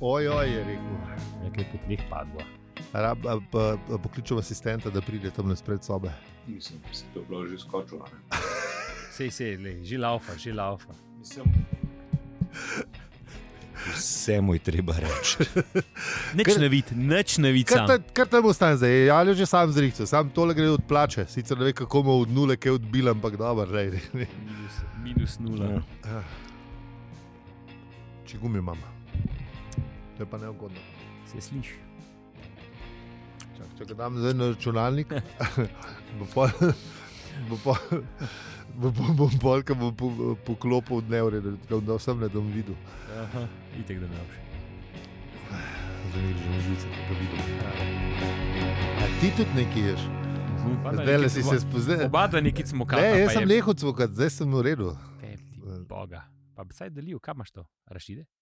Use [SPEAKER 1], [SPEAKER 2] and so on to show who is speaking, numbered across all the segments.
[SPEAKER 1] Ojoj, je rekel.
[SPEAKER 2] Nekaj po tleh padlo.
[SPEAKER 1] Rab, a, pa, pa, pokličem asistenta, da pride tam na spred sobe.
[SPEAKER 3] Mislim, da si to bilo že skočilo.
[SPEAKER 2] Sej, sej, lej, že laufa, že laufa.
[SPEAKER 3] Mislim,
[SPEAKER 4] Vse mu je treba reči.
[SPEAKER 2] Nič
[SPEAKER 1] Kar-
[SPEAKER 2] ne vid, nič ne vid
[SPEAKER 1] Kar,
[SPEAKER 2] sam.
[SPEAKER 1] ta, kar tam ostane zdaj, je Jaljo že sam zrihtel, sam tole gre od plače, sicer ne ve, kako mu od nule kaj odbil, ampak dobro, rej.
[SPEAKER 2] Minus, minus nula.
[SPEAKER 4] Ja.
[SPEAKER 1] Če gumi imam. To je pa neugodno.
[SPEAKER 2] Se sliši.
[SPEAKER 1] Čak, če ga dam zdaj na računalnik, bo pol, bo pol, bo pol, bom pol, ko bom po- poklopil dnevne, da, da vsem ne bom videl.
[SPEAKER 2] Aha, itek da ne boš.
[SPEAKER 1] Zdaj mi že nožice, da vidim. A ti tudi nekaj ješ? Zdaj le si se spoznal.
[SPEAKER 2] Oba dva nekaj smo
[SPEAKER 1] Ne,
[SPEAKER 2] kazali.
[SPEAKER 1] jaz sem lehko cvokal, zdaj sem v redu.
[SPEAKER 2] Boga. Pa bi saj delil, kam imaš to? Rašide?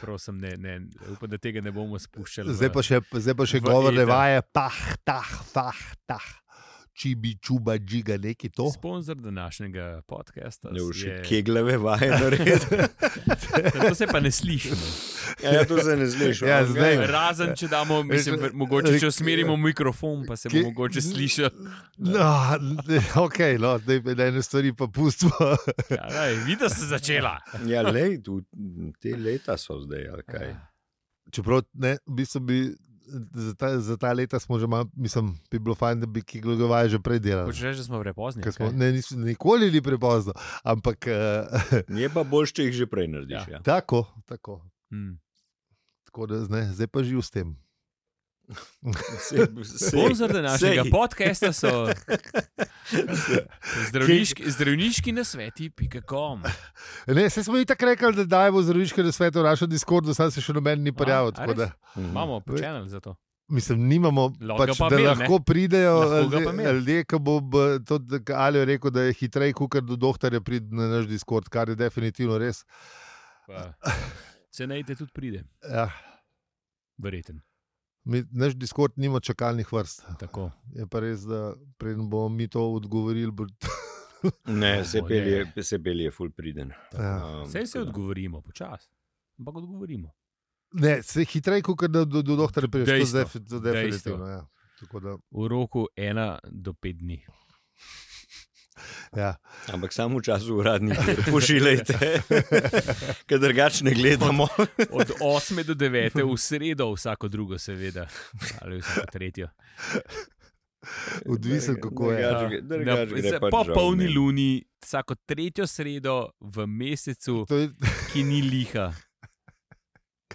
[SPEAKER 2] prosim, ne, ne, upam, da tega ne bomo spuščali. v-
[SPEAKER 1] Zdaj pa še, zdaj pa še
[SPEAKER 2] v
[SPEAKER 1] govor
[SPEAKER 2] eter.
[SPEAKER 1] levaje, pah, tah, pah, tah. Čibi, čuba, džiga, neki to.
[SPEAKER 2] Sponzor današnjega podcasta
[SPEAKER 4] Ne boš še
[SPEAKER 2] je.
[SPEAKER 4] kegleve vaje naredil.
[SPEAKER 2] To se pa ne sliši. no.
[SPEAKER 4] Ja, to se ne sliši.
[SPEAKER 1] Ja, zdaj.
[SPEAKER 2] Razen, če damo, mislim,
[SPEAKER 1] Veš,
[SPEAKER 2] mogoče, če usmerimo mikrofon, pa se bo
[SPEAKER 1] Ki-
[SPEAKER 2] mogoče slišal.
[SPEAKER 1] No, ok, no, daj, da ene stvari pa pustimo.
[SPEAKER 2] Ja, daj, Videla si začela.
[SPEAKER 4] Ja, lej, tu, te leta so zdaj, ali kaj.
[SPEAKER 1] Čeprav ne, v bistvu bi, za, ta, za ta leta smo že malo, mislim, bi bilo fajn, da bi kiglogovaje že prej delali.
[SPEAKER 2] Hočeš reči, da smo prepozni.
[SPEAKER 1] Ker Smo,
[SPEAKER 2] kaj?
[SPEAKER 1] ne, nismo nikoli bili prepozno, ampak uh,
[SPEAKER 4] Je pa bolj, če jih že prej narediš. Ja.
[SPEAKER 1] tako, tako,
[SPEAKER 2] Mm.
[SPEAKER 1] tako da ne, zdaj pa živ s tem.
[SPEAKER 4] Se, se,
[SPEAKER 2] Sponzor današnjega
[SPEAKER 4] sej.
[SPEAKER 2] podcasta so zdravniški, zdravniški nasveti, pika.com.
[SPEAKER 1] Ne, se smo i tako rekli, da dajemo zdravniške nasvete v našem Discordu, sam se še noben ni prijavil.
[SPEAKER 2] a
[SPEAKER 1] tako
[SPEAKER 2] res?
[SPEAKER 1] da,
[SPEAKER 4] Mm.
[SPEAKER 2] Imamo počenal za to.
[SPEAKER 1] Mislim, nimamo,
[SPEAKER 2] Lahko ga
[SPEAKER 1] pač,
[SPEAKER 2] pa
[SPEAKER 1] da
[SPEAKER 2] imel, ne?
[SPEAKER 1] lahko pridejo
[SPEAKER 2] Lahko ga pa
[SPEAKER 1] ljudje-
[SPEAKER 2] imel.
[SPEAKER 1] ljudje, ki bo b- to, da- ke ali je rekel, da je hitreje, kot do dohtarja pride na naš Discord, kar je definitivno res.
[SPEAKER 2] Pa, se najte tudi pride,
[SPEAKER 1] Ja.
[SPEAKER 2] verjeten.
[SPEAKER 1] Mi, naš Discord nima čakalnih vrst.
[SPEAKER 2] Tako.
[SPEAKER 1] Je pa res, da preden bomo mi to odgovorili, bo
[SPEAKER 4] Ne, se
[SPEAKER 2] Bomo,
[SPEAKER 4] pelje, se pelje, ful priden.
[SPEAKER 1] Ja.
[SPEAKER 4] Um,
[SPEAKER 2] Vse se
[SPEAKER 4] tako da.
[SPEAKER 2] odgovorimo, počasi. Ampak odgovorimo.
[SPEAKER 1] Ne, se hitreje, kot do, do, do doktorja prideš, to
[SPEAKER 2] Dejstvo.
[SPEAKER 1] je defi- to definitivno.
[SPEAKER 2] Dejstvo.
[SPEAKER 1] Ja. Tako Da,
[SPEAKER 2] V roku ena do pet dni.
[SPEAKER 1] ja.
[SPEAKER 4] Ampak samo v času uradnih ur pošiljajte, ker drugače ne gledamo.
[SPEAKER 2] Od 8 do 9 v sredo, vsako drugo, seveda, ali vsako tretjo.
[SPEAKER 1] Odvisno, kako je.
[SPEAKER 4] Ja, Drugače gre- drugače
[SPEAKER 2] Na-
[SPEAKER 4] gre
[SPEAKER 2] za-
[SPEAKER 4] pač
[SPEAKER 2] po
[SPEAKER 4] žal
[SPEAKER 2] polni
[SPEAKER 4] mimo.
[SPEAKER 2] luni, vsako tretjo sredo v mesecu,
[SPEAKER 1] To je,
[SPEAKER 2] ki ni liha.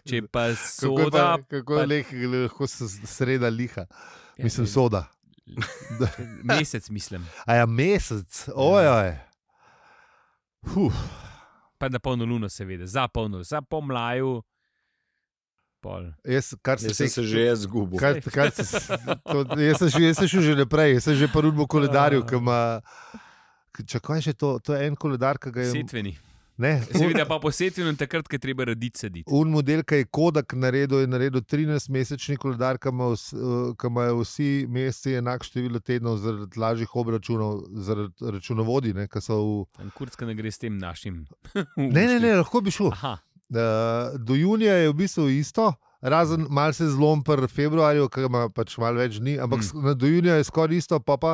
[SPEAKER 2] Če pa
[SPEAKER 1] kako je,
[SPEAKER 2] soda,
[SPEAKER 1] pa, kako je
[SPEAKER 2] pa-
[SPEAKER 1] leh- lahko s- sreda liha.
[SPEAKER 2] Ja,
[SPEAKER 1] Mislim,
[SPEAKER 2] ne.
[SPEAKER 1] soda.
[SPEAKER 2] mesec, mislim,
[SPEAKER 1] A ja, mesec, ojoj. Huh.
[SPEAKER 2] pa na polno luno, seveda, za polno, za pomlaju. Pol.
[SPEAKER 1] Jaz, kar se
[SPEAKER 4] Jaz sem se že jaz zgubil.
[SPEAKER 1] Kar, kar se, s- to, jaz sem že- jaz sem šel že naprej, jaz sem že prvi v koledarju, ki ima. Čakaj, še to, to je en koledar, ki ga je.
[SPEAKER 2] Setveni.
[SPEAKER 1] Ne,
[SPEAKER 2] Seveda pa po setvenu, takrat, ko je treba raditi sediti.
[SPEAKER 1] Un model, ki je Kodak naredil, je naredil 13-mesečni koledar, ki ima vs- eh, ki imajo vsi meseci enako število tednov zaradi lažjih obračunov, zaradi računovodi. Ne, ki so v...
[SPEAKER 2] Kurcka ne gre s tem našim.
[SPEAKER 1] ne, ne, ne, lahko bi šel.
[SPEAKER 2] Aha,
[SPEAKER 1] Uh, do junija je v bistvu isto, razen malo se zlom pri februarju, ki ima pač malo več dni, ampak
[SPEAKER 2] Mm.
[SPEAKER 1] mm. do junija je skoraj isto, pa pa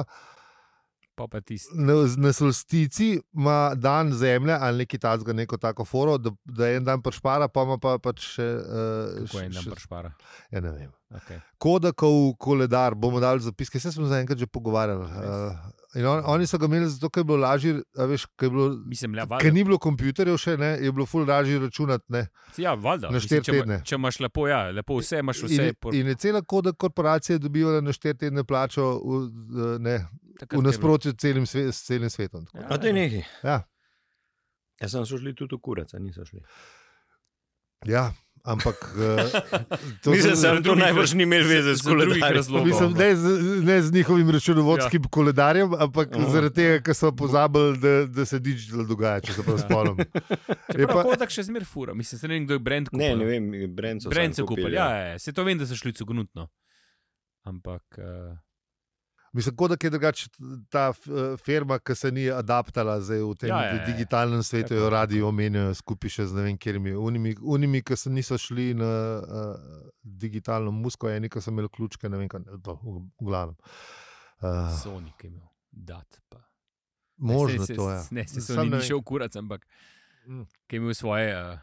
[SPEAKER 2] pa pa tisti.
[SPEAKER 1] na, na solstici ima dan zemlje ali nekaj tacga, neko tako foro, da, da en dan pršpara, pa ima pa pač še. Uh,
[SPEAKER 2] Ko je en dan pršpara.
[SPEAKER 1] ja, ne vem.
[SPEAKER 2] Okay.
[SPEAKER 1] Kodakov koledar, bomo dali zapiske, vse smo za enkrat že pogovarjali. Uh, in on, oni so ga imeli zato, ker je bilo lažje, a veš, ker je bilo.
[SPEAKER 2] Mislim, le
[SPEAKER 1] Ker
[SPEAKER 2] valjda.
[SPEAKER 1] ni bilo kompjuterjev, še ne, je bilo ful lažje računati. Ne.
[SPEAKER 2] Ja, valjda.
[SPEAKER 1] na
[SPEAKER 2] Mislim,
[SPEAKER 1] štiri
[SPEAKER 2] če ma-
[SPEAKER 1] tedne.
[SPEAKER 2] Če imaš lepo, ja, lepo vse imaš,
[SPEAKER 1] In,
[SPEAKER 2] vse.
[SPEAKER 1] je- in je cela koda korporacije dobivala na štiri tedne plačo v, eh, ne, v nasprotju s celim, sve, s celim svetom. tako.
[SPEAKER 4] A te neki.
[SPEAKER 1] Ja.
[SPEAKER 4] Jaz sem šel tudi v kurac, a niso šli.
[SPEAKER 1] Ja, Ampak eh, to
[SPEAKER 4] Mislim,
[SPEAKER 1] so-
[SPEAKER 4] da se
[SPEAKER 2] zaradi
[SPEAKER 4] to
[SPEAKER 2] drugih
[SPEAKER 4] najbrž ni imel veze
[SPEAKER 2] z-
[SPEAKER 4] s
[SPEAKER 2] z drugih
[SPEAKER 4] koledarjem.
[SPEAKER 2] razlogov.
[SPEAKER 1] Mislim, ne, z, ne z njihovim računovodskim ja. koledarjem, ampak
[SPEAKER 4] Aha.
[SPEAKER 1] zaradi tega, ker so pozabili, da, da se digital dogaja, če se prav spomnim. Je
[SPEAKER 2] Čeprav
[SPEAKER 1] pa-
[SPEAKER 2] Kodak še zmer fura, mislim, se ne vem, kdo je brand kupil.
[SPEAKER 4] Ne, ne vem, brend so.
[SPEAKER 2] Brand
[SPEAKER 4] samo
[SPEAKER 2] so kupili,
[SPEAKER 4] kupili,
[SPEAKER 2] ja, ja, ja. se to vem, da so šli cugnutno. Ampak uh,
[SPEAKER 1] Mislim, kot da je drugače ta eh, firma, ki se ni adaptala zdaj v tem
[SPEAKER 2] Ja,
[SPEAKER 1] ja,
[SPEAKER 2] ja,
[SPEAKER 1] je,
[SPEAKER 2] ja.
[SPEAKER 1] digitalnem svetu,
[SPEAKER 2] Tako.
[SPEAKER 1] jo radi omenjajo skupaj še z ne vem, kjer mi unimi, unimi ki se niso šli na uh, digitalno musko, eni, ki so imeli ključke, ne vem, kaj, to, v, v glavnem. Uh,
[SPEAKER 2] Sony, ki je imel, dat pa.
[SPEAKER 1] možno
[SPEAKER 2] se,
[SPEAKER 1] to je.
[SPEAKER 2] Ne, se
[SPEAKER 1] Samo
[SPEAKER 2] Sony
[SPEAKER 1] ne
[SPEAKER 2] ni
[SPEAKER 1] vem.
[SPEAKER 2] šel kurat, ampak
[SPEAKER 1] Mm.
[SPEAKER 2] ki je imel svoje. Uh,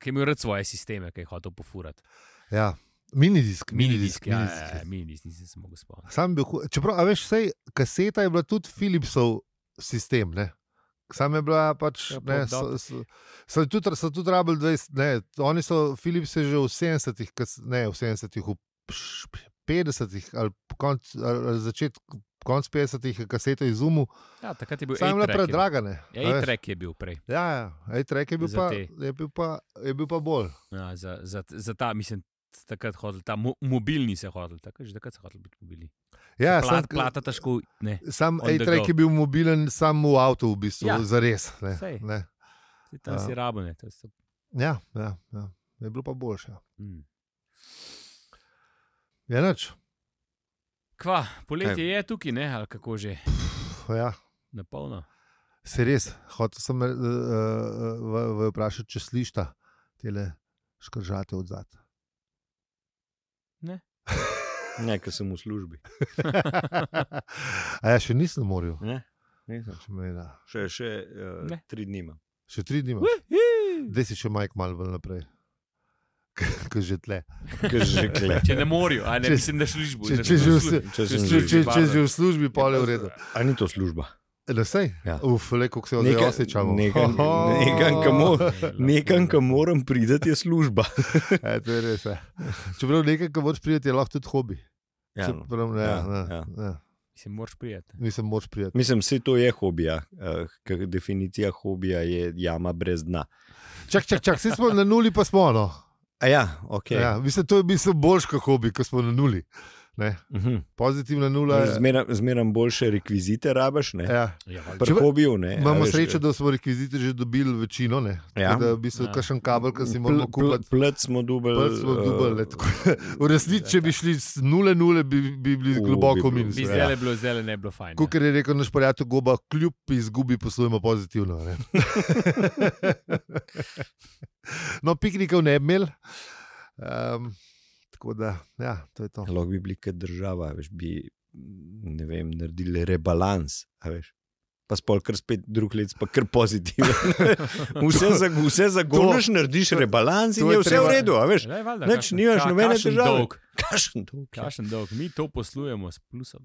[SPEAKER 2] Ki je imel rad svoje sisteme, ki je hotel pofurati.
[SPEAKER 1] Ja. Minidisk, minidisk,
[SPEAKER 2] Minidisk, ja,
[SPEAKER 1] minidisk.
[SPEAKER 2] ja, ja, minidisk, nisem se mogel spomniti.
[SPEAKER 1] Sam bi, čeprav, a veš, sej, kaseta je bila tudi Philipsov sistem. Ne? Sam je bila pač.
[SPEAKER 2] Ja, pa
[SPEAKER 1] Ne,
[SPEAKER 2] dobro.
[SPEAKER 1] so, so, so tudi, so tudi rabili 20, ne, oni so Philips že v 70-ih, kas- ne v 70-ih, v pš- 50-ih ali, konc, ali začetku. Konc 50-ih je kaseto izumil,
[SPEAKER 2] Ja, takrat je bil
[SPEAKER 1] samo je bila
[SPEAKER 2] A-Track je bil.
[SPEAKER 1] predraga. ne,
[SPEAKER 2] Ja,
[SPEAKER 1] a veš.
[SPEAKER 2] E-Trek je bil prej.
[SPEAKER 1] Ja, ja, A-track je bil
[SPEAKER 2] Za
[SPEAKER 1] pa,
[SPEAKER 2] te.
[SPEAKER 1] je bil pa, je bil pa bolj.
[SPEAKER 2] Ja, za, za, za ta, mislim, takrat hodil, ta mo, mobilni se hodil, takrat, že takrat so hodili biti mobilni.
[SPEAKER 1] Ja,
[SPEAKER 2] Plat,
[SPEAKER 1] sam-
[SPEAKER 2] plata težko, ne.
[SPEAKER 1] Sam
[SPEAKER 2] on the
[SPEAKER 1] A-track
[SPEAKER 2] go.
[SPEAKER 1] je bil mobilen, samo v avtu, v bistvu,
[SPEAKER 2] Ja.
[SPEAKER 1] ja. za res.
[SPEAKER 2] Sej.
[SPEAKER 1] Ja,
[SPEAKER 2] saj Tam
[SPEAKER 1] Ja.
[SPEAKER 2] si rabone. to so-
[SPEAKER 1] ja, ja, je bilo pa boljše. Ja,
[SPEAKER 2] Mm.
[SPEAKER 1] Je noč,
[SPEAKER 2] Kva, poletje je tukaj, ne, ali kako že,
[SPEAKER 1] ja,
[SPEAKER 2] na polno.
[SPEAKER 1] se res. Hotel sem eh, eh, vaju vprašati, če slišiš te škržate od zadaj.
[SPEAKER 4] ja. Ne, ker sem v službi.
[SPEAKER 1] A ja, še nisem na morju.
[SPEAKER 4] Ne, nisem.
[SPEAKER 1] Še, me, da.
[SPEAKER 4] Še, še uh,
[SPEAKER 2] Ne.
[SPEAKER 4] tri dni. imam.
[SPEAKER 1] še tri dni, imaš. zdaj si še majk malo bolj naprej. Ko že tle.
[SPEAKER 4] Ker že kle.
[SPEAKER 2] Če ne morajo, a ne,
[SPEAKER 1] Če-
[SPEAKER 2] mislim, da šliš bo.
[SPEAKER 1] če-
[SPEAKER 2] da
[SPEAKER 1] če
[SPEAKER 2] šliš
[SPEAKER 1] že
[SPEAKER 2] bo.
[SPEAKER 1] vse-
[SPEAKER 4] Če
[SPEAKER 1] Če,
[SPEAKER 4] sem
[SPEAKER 1] če,
[SPEAKER 4] že
[SPEAKER 1] če,
[SPEAKER 4] kle.
[SPEAKER 1] če že v službi, pa je v redu.
[SPEAKER 4] A ni to služba?
[SPEAKER 1] Da sej?
[SPEAKER 4] Ja.
[SPEAKER 1] Uf, le kako se od
[SPEAKER 4] Nekaj-
[SPEAKER 1] tega osjećamo.
[SPEAKER 4] nekam- nekam, kamor- Nekam,
[SPEAKER 2] Ja,
[SPEAKER 4] kam moram priti, je služba.
[SPEAKER 1] E, to je res. ja. Čeprav nekaj, kar moraš priti, je lahko tudi hobi.
[SPEAKER 4] Ja, no.
[SPEAKER 1] Čeprav, ne,
[SPEAKER 4] Ja,
[SPEAKER 1] ne,
[SPEAKER 4] ja.
[SPEAKER 1] ne.
[SPEAKER 2] Mislim, moraš prijeti.
[SPEAKER 1] Mislim, moraš priti.
[SPEAKER 4] Mislim, vse to je hobija. Uh, ker definicija hobija je jama brez dna.
[SPEAKER 1] Čak, čak, čak, vsi smo na nuli, pa smo ono.
[SPEAKER 4] A ja, ok.
[SPEAKER 1] Okay.
[SPEAKER 4] Ja.
[SPEAKER 1] Ja, mislim, to je bil boljši kot hobi, ko smo na nuli. Ne?
[SPEAKER 4] Uh -huh.
[SPEAKER 1] Pozitivna nula je.
[SPEAKER 4] Zmeram, zmeram boljše rekvizite rabiš, ne?
[SPEAKER 1] Ja.
[SPEAKER 2] Ja, valjda.
[SPEAKER 4] Pri
[SPEAKER 1] Čeprav-
[SPEAKER 4] hobiju, ne? a
[SPEAKER 1] Imamo
[SPEAKER 4] veš, eh,
[SPEAKER 1] srečo, da smo rekvizite že dobili večino. Ne?
[SPEAKER 4] Ja.
[SPEAKER 1] Tako Da je v bistvu
[SPEAKER 2] Ja.
[SPEAKER 1] ja. kakšen kabel, ki si
[SPEAKER 4] Pl-
[SPEAKER 1] moramo
[SPEAKER 4] pl-
[SPEAKER 1] kupiti.
[SPEAKER 4] Plec smo eh, dubli.
[SPEAKER 1] Prvi smo dubali. tako. V resnici, če bi šli z nule, nule, bi, bi bili
[SPEAKER 4] U,
[SPEAKER 1] globoko
[SPEAKER 4] bi bilo-
[SPEAKER 1] minus.
[SPEAKER 2] Bi
[SPEAKER 4] Ja.
[SPEAKER 2] zdaj bilo, zdaj ne bilo fajn.
[SPEAKER 1] Kot je rekel naš prijatelj Goba, kljub izgubi poslujemo pozitivno. ne. no, piknikov ne bi imel. Um, tako da, ja, to je to.
[SPEAKER 4] Lahko bi bili kot država, a veš, bi ne vem, naredili rebalans. a veš. Pa spol, kar spet drug let, pa kar pozitiven. Vse, za, vse zagoniš, narediš rebalans in
[SPEAKER 1] to
[SPEAKER 4] je
[SPEAKER 1] je
[SPEAKER 4] vse
[SPEAKER 1] treba-
[SPEAKER 4] v redu. a Veš,
[SPEAKER 2] Ne, valjda,
[SPEAKER 4] Nič,
[SPEAKER 2] kakšen-
[SPEAKER 4] nimaš
[SPEAKER 2] ka-
[SPEAKER 4] nobene
[SPEAKER 2] kakšen
[SPEAKER 4] težave.
[SPEAKER 2] dolg,
[SPEAKER 4] kakšen Mm. dolg je.
[SPEAKER 2] Kakšen dolg, mi to poslujemo s plusom.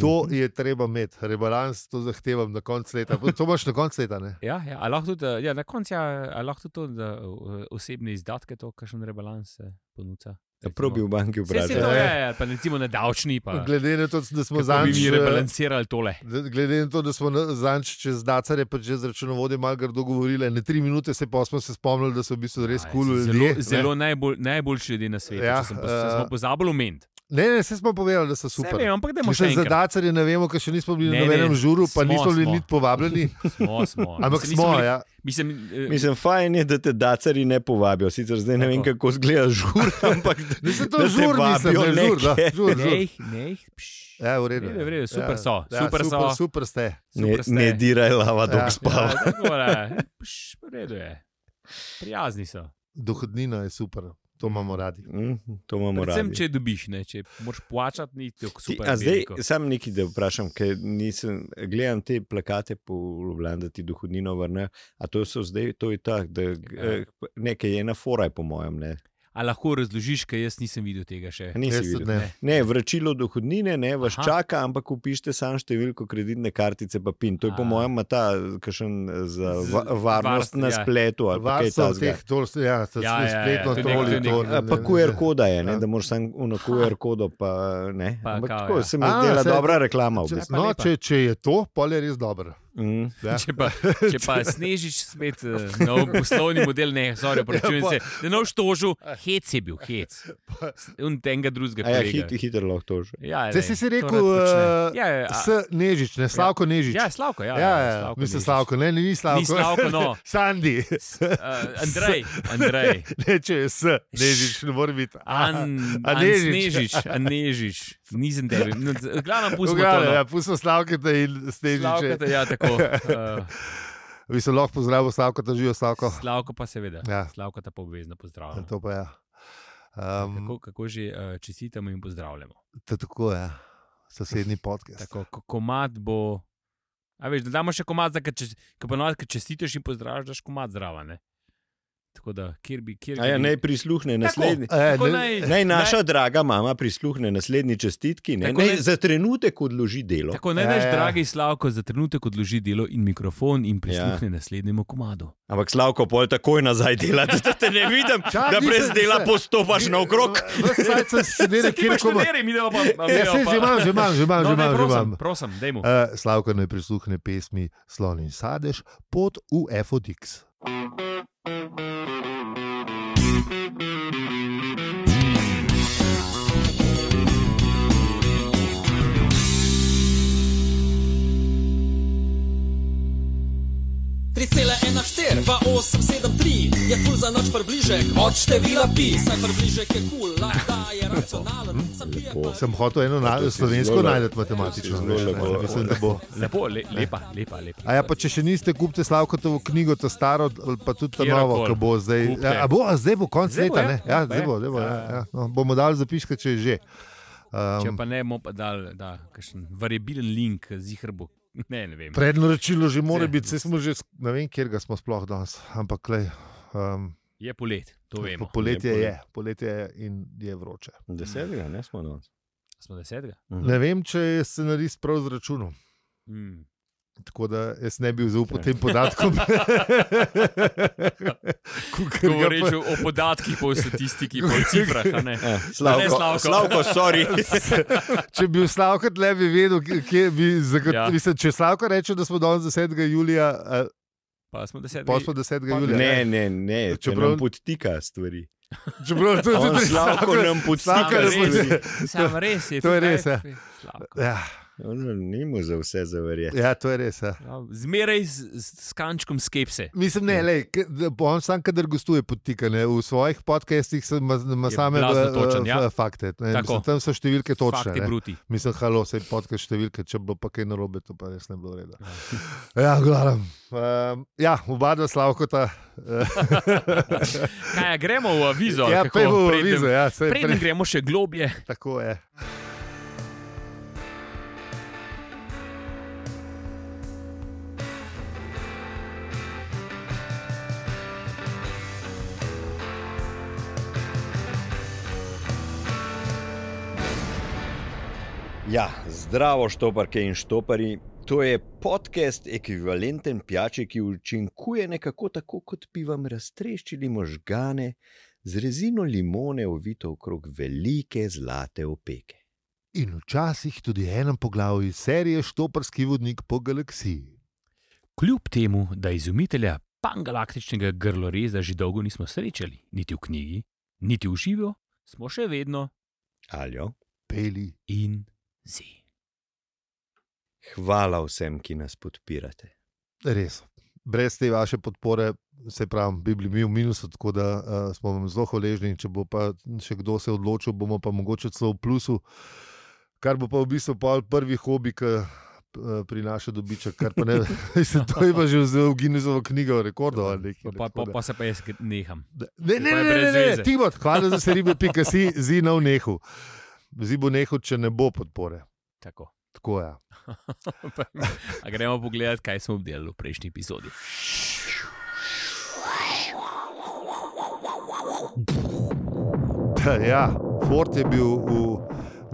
[SPEAKER 1] To
[SPEAKER 2] Mhm.
[SPEAKER 1] je treba imeti, rebalans, to zahtevam na koncu leta. Pa To imaš na koncu leta. Ne?
[SPEAKER 2] Ja, ja, a lahko tudi, ja, na koncu, ja, a lahko tudi to, da eh, osebne izdatke, to, kakšen rebalans se ponuca.
[SPEAKER 4] Ja, Probi v banki
[SPEAKER 2] Vse si to,
[SPEAKER 4] vprašati.
[SPEAKER 1] Ja,
[SPEAKER 2] ja,
[SPEAKER 1] ja.
[SPEAKER 2] ja, pa recimo na davčni, pa
[SPEAKER 1] Glede na to, da smo
[SPEAKER 2] kako bi
[SPEAKER 1] zadnjič.
[SPEAKER 2] mi rebalansirali tole.
[SPEAKER 1] Glede na to, da smo zadnjič čez Dacarje, pa že z računovodjem malo grdo govorili, ne tri minute, se pa smo se spomnili, da so v bistvu res
[SPEAKER 2] Aj,
[SPEAKER 1] kul cool
[SPEAKER 2] Zelo,
[SPEAKER 1] ljudje.
[SPEAKER 2] zelo najbolj, najboljši ljudje na svetu, ja,
[SPEAKER 1] Ja,
[SPEAKER 2] sem, pos, uh,
[SPEAKER 1] eh,
[SPEAKER 2] smo pozabili omeniti.
[SPEAKER 1] Ne, ne, vse smo povedali, da so
[SPEAKER 2] Saj
[SPEAKER 1] super.
[SPEAKER 2] Vem, ampak da imamo še
[SPEAKER 1] Mislim, za
[SPEAKER 2] enkrat.
[SPEAKER 1] dacarje ne vemo, ker še nismo bili
[SPEAKER 2] Ne,
[SPEAKER 1] na nobenem
[SPEAKER 2] ne,
[SPEAKER 1] žuru, pa
[SPEAKER 2] smo,
[SPEAKER 1] nismo bili
[SPEAKER 2] smo.
[SPEAKER 1] niti povabljeni.
[SPEAKER 2] Smo, smo.
[SPEAKER 1] Ampak
[SPEAKER 2] Mislim, nismo
[SPEAKER 1] smo,
[SPEAKER 2] bili-
[SPEAKER 1] ja.
[SPEAKER 2] Mislim, eh,
[SPEAKER 4] Mislim, fajn je, da te dacari ne povabijo. Sicer zdaj ne vem,
[SPEAKER 2] Tako.
[SPEAKER 4] kako zgleda žur, ampak da-
[SPEAKER 1] Mislim,
[SPEAKER 4] da
[SPEAKER 1] to
[SPEAKER 4] te
[SPEAKER 1] je žur, nisem,
[SPEAKER 4] vabijo
[SPEAKER 1] ne, žur, da,
[SPEAKER 4] nekje.
[SPEAKER 1] žur,
[SPEAKER 2] ne
[SPEAKER 1] žur.
[SPEAKER 2] jih, ne jih. pš.
[SPEAKER 1] Ja, v redu.
[SPEAKER 2] V redu, v redu,
[SPEAKER 1] je.
[SPEAKER 2] super
[SPEAKER 1] ja,
[SPEAKER 2] so,
[SPEAKER 1] ja,
[SPEAKER 2] super so.
[SPEAKER 1] super, super ste.
[SPEAKER 4] Ne,
[SPEAKER 2] Super ste.
[SPEAKER 4] ne diraj lava, dok
[SPEAKER 1] Ja.
[SPEAKER 4] spava.
[SPEAKER 2] Ja, tako, ne. Pš, v redu je. Prijazni so.
[SPEAKER 1] Dohodnina je super, to imamo radi.
[SPEAKER 4] Mm, to imamo
[SPEAKER 2] Predvsem,
[SPEAKER 4] radi.
[SPEAKER 2] če dobiš, ne, če moraš plačati, ni tako
[SPEAKER 4] Ti,
[SPEAKER 2] super.
[SPEAKER 4] a zdaj,
[SPEAKER 2] veliko.
[SPEAKER 4] sam nekaj, da vprašam, ker nisem, gledam te plakate po Ljubljani, da ti dohodnino vrnejo. A to so zdaj, to je tako, da
[SPEAKER 2] Ja.
[SPEAKER 4] eh, nekaj je ena foraj, po mojem. Ne,
[SPEAKER 2] A lahko razložiš, ker jaz nisem videl tega še.
[SPEAKER 4] A nisi
[SPEAKER 1] Jaz tudi
[SPEAKER 4] videl.
[SPEAKER 1] ne.
[SPEAKER 4] Ne, vračilo dohodnine ne vas
[SPEAKER 2] Aha.
[SPEAKER 4] Aha. čaka, ampak upišite samo številko kreditne kartice, pa PIN. To je, po
[SPEAKER 2] A.
[SPEAKER 4] mojem, ima ta kašen za
[SPEAKER 2] Z-
[SPEAKER 4] va
[SPEAKER 2] varst-
[SPEAKER 4] varnost na
[SPEAKER 2] ja.
[SPEAKER 4] spletu. ali pa kaj
[SPEAKER 1] Varstvo v
[SPEAKER 4] takega.
[SPEAKER 1] teh tol, ja, to
[SPEAKER 2] Ja,
[SPEAKER 1] ja,
[SPEAKER 2] ja, ja,
[SPEAKER 1] spletno
[SPEAKER 2] to je nek-
[SPEAKER 1] troli.
[SPEAKER 2] to je nek-
[SPEAKER 1] to,
[SPEAKER 4] A,
[SPEAKER 1] ne,
[SPEAKER 4] Ja, Pa
[SPEAKER 1] ne,
[SPEAKER 4] QR
[SPEAKER 1] ne.
[SPEAKER 4] koda je, ne,
[SPEAKER 1] Ja.
[SPEAKER 4] da moraš samo uno QR kodo. Pa, ne.
[SPEAKER 2] Pa
[SPEAKER 4] Ampak
[SPEAKER 2] kao,
[SPEAKER 4] tako
[SPEAKER 2] ja.
[SPEAKER 4] se mi
[SPEAKER 1] A,
[SPEAKER 4] dela
[SPEAKER 1] se-
[SPEAKER 4] dobra reklama. v
[SPEAKER 1] Če,
[SPEAKER 4] bistvu.
[SPEAKER 2] pa
[SPEAKER 1] no,
[SPEAKER 2] lepa.
[SPEAKER 1] če, če je to, pol je res dobro.
[SPEAKER 4] Mm.
[SPEAKER 1] Ja.
[SPEAKER 2] Če pa, če pa snežiš spet eh, nov poslovni model, ne, sorry,
[SPEAKER 1] Ja,
[SPEAKER 2] opravičujem
[SPEAKER 1] pa-
[SPEAKER 2] se. Ne, nov štožu, hec je bil, hec. In tega drugega.
[SPEAKER 4] A Ja,
[SPEAKER 2] kolega.
[SPEAKER 4] hit, hitro lahko to že.
[SPEAKER 2] Ja,
[SPEAKER 1] Zdaj
[SPEAKER 2] lej,
[SPEAKER 1] si si
[SPEAKER 2] to
[SPEAKER 1] rekel,
[SPEAKER 2] rad počne.
[SPEAKER 1] eh,
[SPEAKER 2] ja, ja, a-
[SPEAKER 1] S Nežič, ne Slavko Nežič.
[SPEAKER 2] ja, Slavko, ja,
[SPEAKER 1] ja,
[SPEAKER 2] ja,
[SPEAKER 1] ja,
[SPEAKER 2] Slavko
[SPEAKER 1] mislim,
[SPEAKER 2] Nežič.
[SPEAKER 1] Slavko, ne, ni Slavko.
[SPEAKER 2] Ni Slavko, no.
[SPEAKER 1] Sandi.
[SPEAKER 2] S- eh, Andrej, Andrej.
[SPEAKER 1] Ne, če je S, Nežič, ne more biti.
[SPEAKER 2] An,
[SPEAKER 1] A
[SPEAKER 2] an
[SPEAKER 1] Nežič.
[SPEAKER 2] Snežič, an Nežič, nisem tebi. No, z- Glavno pustimo to.
[SPEAKER 1] Ugrale,
[SPEAKER 2] No.
[SPEAKER 1] ja, pusto Slavkata in Snežiče.
[SPEAKER 2] Slavko, ja, tako. Uh,
[SPEAKER 1] Vi se lahko pozdravimo, Slavkata, živijo Slavko.
[SPEAKER 2] Slavko pa seveda.
[SPEAKER 1] Ja.
[SPEAKER 2] Slavko ta pa obvezno pozdravljamo.
[SPEAKER 1] To pa ja.
[SPEAKER 2] Kako,
[SPEAKER 1] Um,
[SPEAKER 2] kako že uh, čestitamo in pozdravljamo.
[SPEAKER 1] to je tako, ja. Sosednji podcast.
[SPEAKER 2] Tako, ko- komat bo. A veš, da damo še komat, da ko ponovadi ko čestitiš in pozdraviš, daš komat zraven. ne. Tako da, kjer bi. Kjer
[SPEAKER 4] A ja, naj prisluhne naslednji.
[SPEAKER 1] Eh,
[SPEAKER 2] Tako
[SPEAKER 1] ne-
[SPEAKER 2] naj,
[SPEAKER 4] Naj naša draga mama prisluhne naslednji čestitki, ne?
[SPEAKER 2] Tako
[SPEAKER 4] Naj
[SPEAKER 2] naj-
[SPEAKER 4] za trenutek odloži delo.
[SPEAKER 2] Tako naj
[SPEAKER 1] Ja,
[SPEAKER 2] naš
[SPEAKER 1] ja.
[SPEAKER 2] dragi Slavko za trenutek odloži delo in mikrofon in prisluhne ja. naslednjemu komadu.
[SPEAKER 4] Ampak Slavko, pol takoj nazaj dela, da te ne vidim,
[SPEAKER 1] Čak,
[SPEAKER 4] da brez
[SPEAKER 1] nisem-
[SPEAKER 4] dela
[SPEAKER 1] nisem-
[SPEAKER 4] postopaš naokrog.
[SPEAKER 1] Ves čas sem sedel,
[SPEAKER 2] Ti
[SPEAKER 1] kjer
[SPEAKER 2] imaš
[SPEAKER 1] koma.
[SPEAKER 2] štiri, mi idemo pa. a mi
[SPEAKER 1] Ja,
[SPEAKER 2] deva
[SPEAKER 1] saj
[SPEAKER 2] pa-
[SPEAKER 1] že imam, že imam, že imam,
[SPEAKER 2] No,
[SPEAKER 1] že
[SPEAKER 2] ne,
[SPEAKER 1] imam, že
[SPEAKER 2] prosim,
[SPEAKER 1] imam.
[SPEAKER 2] Prosim, dajmo.
[SPEAKER 1] Uh, Slavko naj prisluhne pesmi Slon in Sadež pod UFODX.
[SPEAKER 5] Tri cele ena štir, dva osem sedem tri je kul za naš približek od števila pi. Saj približek je kul, lahko je racionalen, sam pije
[SPEAKER 4] Lepo.
[SPEAKER 5] pa-
[SPEAKER 1] Sem hotel eno na,
[SPEAKER 4] Ja, si
[SPEAKER 1] slovensko
[SPEAKER 4] zelo le-
[SPEAKER 1] najti matematično.
[SPEAKER 4] to si zelo
[SPEAKER 1] veš, ne,
[SPEAKER 4] lepo.
[SPEAKER 1] Mislim, da bo.
[SPEAKER 2] Lepo, le, lepa, lepa, lepa.
[SPEAKER 1] A ja, pa če še niste, kupite Slavkotovo knjigo, ta staro, ali pa tudi ta
[SPEAKER 2] Kjerkoli.
[SPEAKER 1] novo, ki bo zdaj.
[SPEAKER 2] Kupite.
[SPEAKER 1] Ja, a bo, a zdaj bo konc
[SPEAKER 2] Zdaj bo,
[SPEAKER 1] leta,
[SPEAKER 2] ja.
[SPEAKER 1] ne? Ja,
[SPEAKER 2] Ja, pa
[SPEAKER 1] zdaj
[SPEAKER 2] je.
[SPEAKER 1] bo, zdaj bo. Ja,
[SPEAKER 2] Ja.
[SPEAKER 1] ja. No, bomo dali zapiske, če je že.
[SPEAKER 2] Če
[SPEAKER 1] Um,
[SPEAKER 2] pa ne, bomo pa dal da, kakšen variabilen link, zihrbo. Ne, ne vem.
[SPEAKER 1] Prednoročilo že mora
[SPEAKER 2] Zdaj.
[SPEAKER 1] biti, saj smo že, sk- ne vem, kjer ga smo sploh danes, ampak klej. Um,
[SPEAKER 2] Je polet, to vemo.
[SPEAKER 1] poletje
[SPEAKER 4] Ne,
[SPEAKER 1] je, poletje je in je vroče.
[SPEAKER 4] Desetega, ne smo danes.
[SPEAKER 2] Smo desetega.
[SPEAKER 1] Ne vem, če je scenarist prav izračunal.
[SPEAKER 2] Mm.
[SPEAKER 1] Tako da jaz ne bi zaupal tem podatkom. Kakor ga
[SPEAKER 2] Govoreč o o podatkih, po statistiki, po cifrah. a ne.
[SPEAKER 4] Eh,
[SPEAKER 2] Ne,
[SPEAKER 4] Slavko,
[SPEAKER 2] Slavko.
[SPEAKER 4] Slavko, sorry.
[SPEAKER 1] Če bi Slavko le bi vedel, k- kje bi zagotovil. Ja.
[SPEAKER 2] Ja.
[SPEAKER 1] Mislim, če Slavko reče, da smo danes 10. julija, eh,
[SPEAKER 2] Pa smo desetega.
[SPEAKER 1] pa smo 10.
[SPEAKER 2] pa-
[SPEAKER 1] julija.
[SPEAKER 4] Ne, ne, ne, če
[SPEAKER 1] Čeprav-
[SPEAKER 4] nam podtika stvari.
[SPEAKER 1] čeprav to je
[SPEAKER 4] On
[SPEAKER 1] tudi
[SPEAKER 4] Slavko nam podtika
[SPEAKER 1] Slavko nam
[SPEAKER 4] stvari.
[SPEAKER 1] podtika.
[SPEAKER 2] Sam Ja, res je.
[SPEAKER 1] to je
[SPEAKER 2] tukaj
[SPEAKER 1] res, ja.
[SPEAKER 2] Slavko.
[SPEAKER 1] Ja,
[SPEAKER 4] On Ni mu za vse zaverjeti.
[SPEAKER 1] ja, to je res. Ja.
[SPEAKER 2] Ja, Zmeraj s, s, s kančkom skepse.
[SPEAKER 1] Mislim, ne, lej, k- da bo on sam, kadar gostuje podtika, ne, v svojih podcestih sem- ima- ima
[SPEAKER 2] Je
[SPEAKER 1] same eh,
[SPEAKER 2] blazno točen,
[SPEAKER 1] eh,
[SPEAKER 2] ja.
[SPEAKER 1] fakte. ne.
[SPEAKER 2] Tako.
[SPEAKER 1] Mislim, tam so številke točne.
[SPEAKER 2] Fakti
[SPEAKER 1] ne.
[SPEAKER 2] bruti.
[SPEAKER 1] Mislim, halo, se je podkaj številke, če bo pa kaj narobe, to pa res ne bo reda. Ja, glavno. Um, ja, oba dva slavkota. eh,
[SPEAKER 2] Kaj, a gremo v avizo?
[SPEAKER 1] ja,
[SPEAKER 2] ali kako?
[SPEAKER 1] pejmo v
[SPEAKER 2] Preden-
[SPEAKER 1] vizo, ja, saj
[SPEAKER 2] Preden gremo še globje,
[SPEAKER 1] Tako je.
[SPEAKER 4] Ja, zdravo, štoparke in štoparji. To je podcast, ekvivalenten pijači, ki učinkuje nekako tako, kot bi vam raztreščili možgane z rezino limone, ovito okrog velike zlate opeke.
[SPEAKER 1] In včasih tudi enem poglavju iz serije Štoprski vodnik po galaksiji.
[SPEAKER 2] kljub temu, da izumitelja pangalaktičnega grloreza že dolgo nismo srečali, niti v knjigi, niti v živo, smo še vedno
[SPEAKER 4] Aljo.
[SPEAKER 1] Peli.
[SPEAKER 2] in zi.
[SPEAKER 4] Hvala vsem, ki nas podpirate.
[SPEAKER 1] Res. Brez te vaše podpore, se pravi, bi bili mi v minusu, tako da uh, smo vam zelo hvaležni. Če bo pa še kdo se odločil, bomo pa mogoče celo v plusu, kar bo pa v bistvu pol prvi hobi, ki eh, prinaša dobiček. kar pa Ne, se to je pa že vzel v Guinnessovo knjigo rekordov. ali nekaj,
[SPEAKER 2] Pa, pa,
[SPEAKER 1] tako da-
[SPEAKER 2] pa se pa jaz gre- neham.
[SPEAKER 1] Ne, ne,
[SPEAKER 2] Pa
[SPEAKER 1] ne,
[SPEAKER 2] je
[SPEAKER 1] ne,
[SPEAKER 2] brez
[SPEAKER 1] ne,
[SPEAKER 2] veze.
[SPEAKER 1] ne. Timot, hvala za seribe, pika si zinov nehu. Zibo nehu, če ne bo podpore.
[SPEAKER 2] Tako.
[SPEAKER 1] Tako je. Ja.
[SPEAKER 2] A gremo pogledat, kaj smo obdelali v prejšnji epizodi.
[SPEAKER 1] Ta, Ja, Ford je bil v.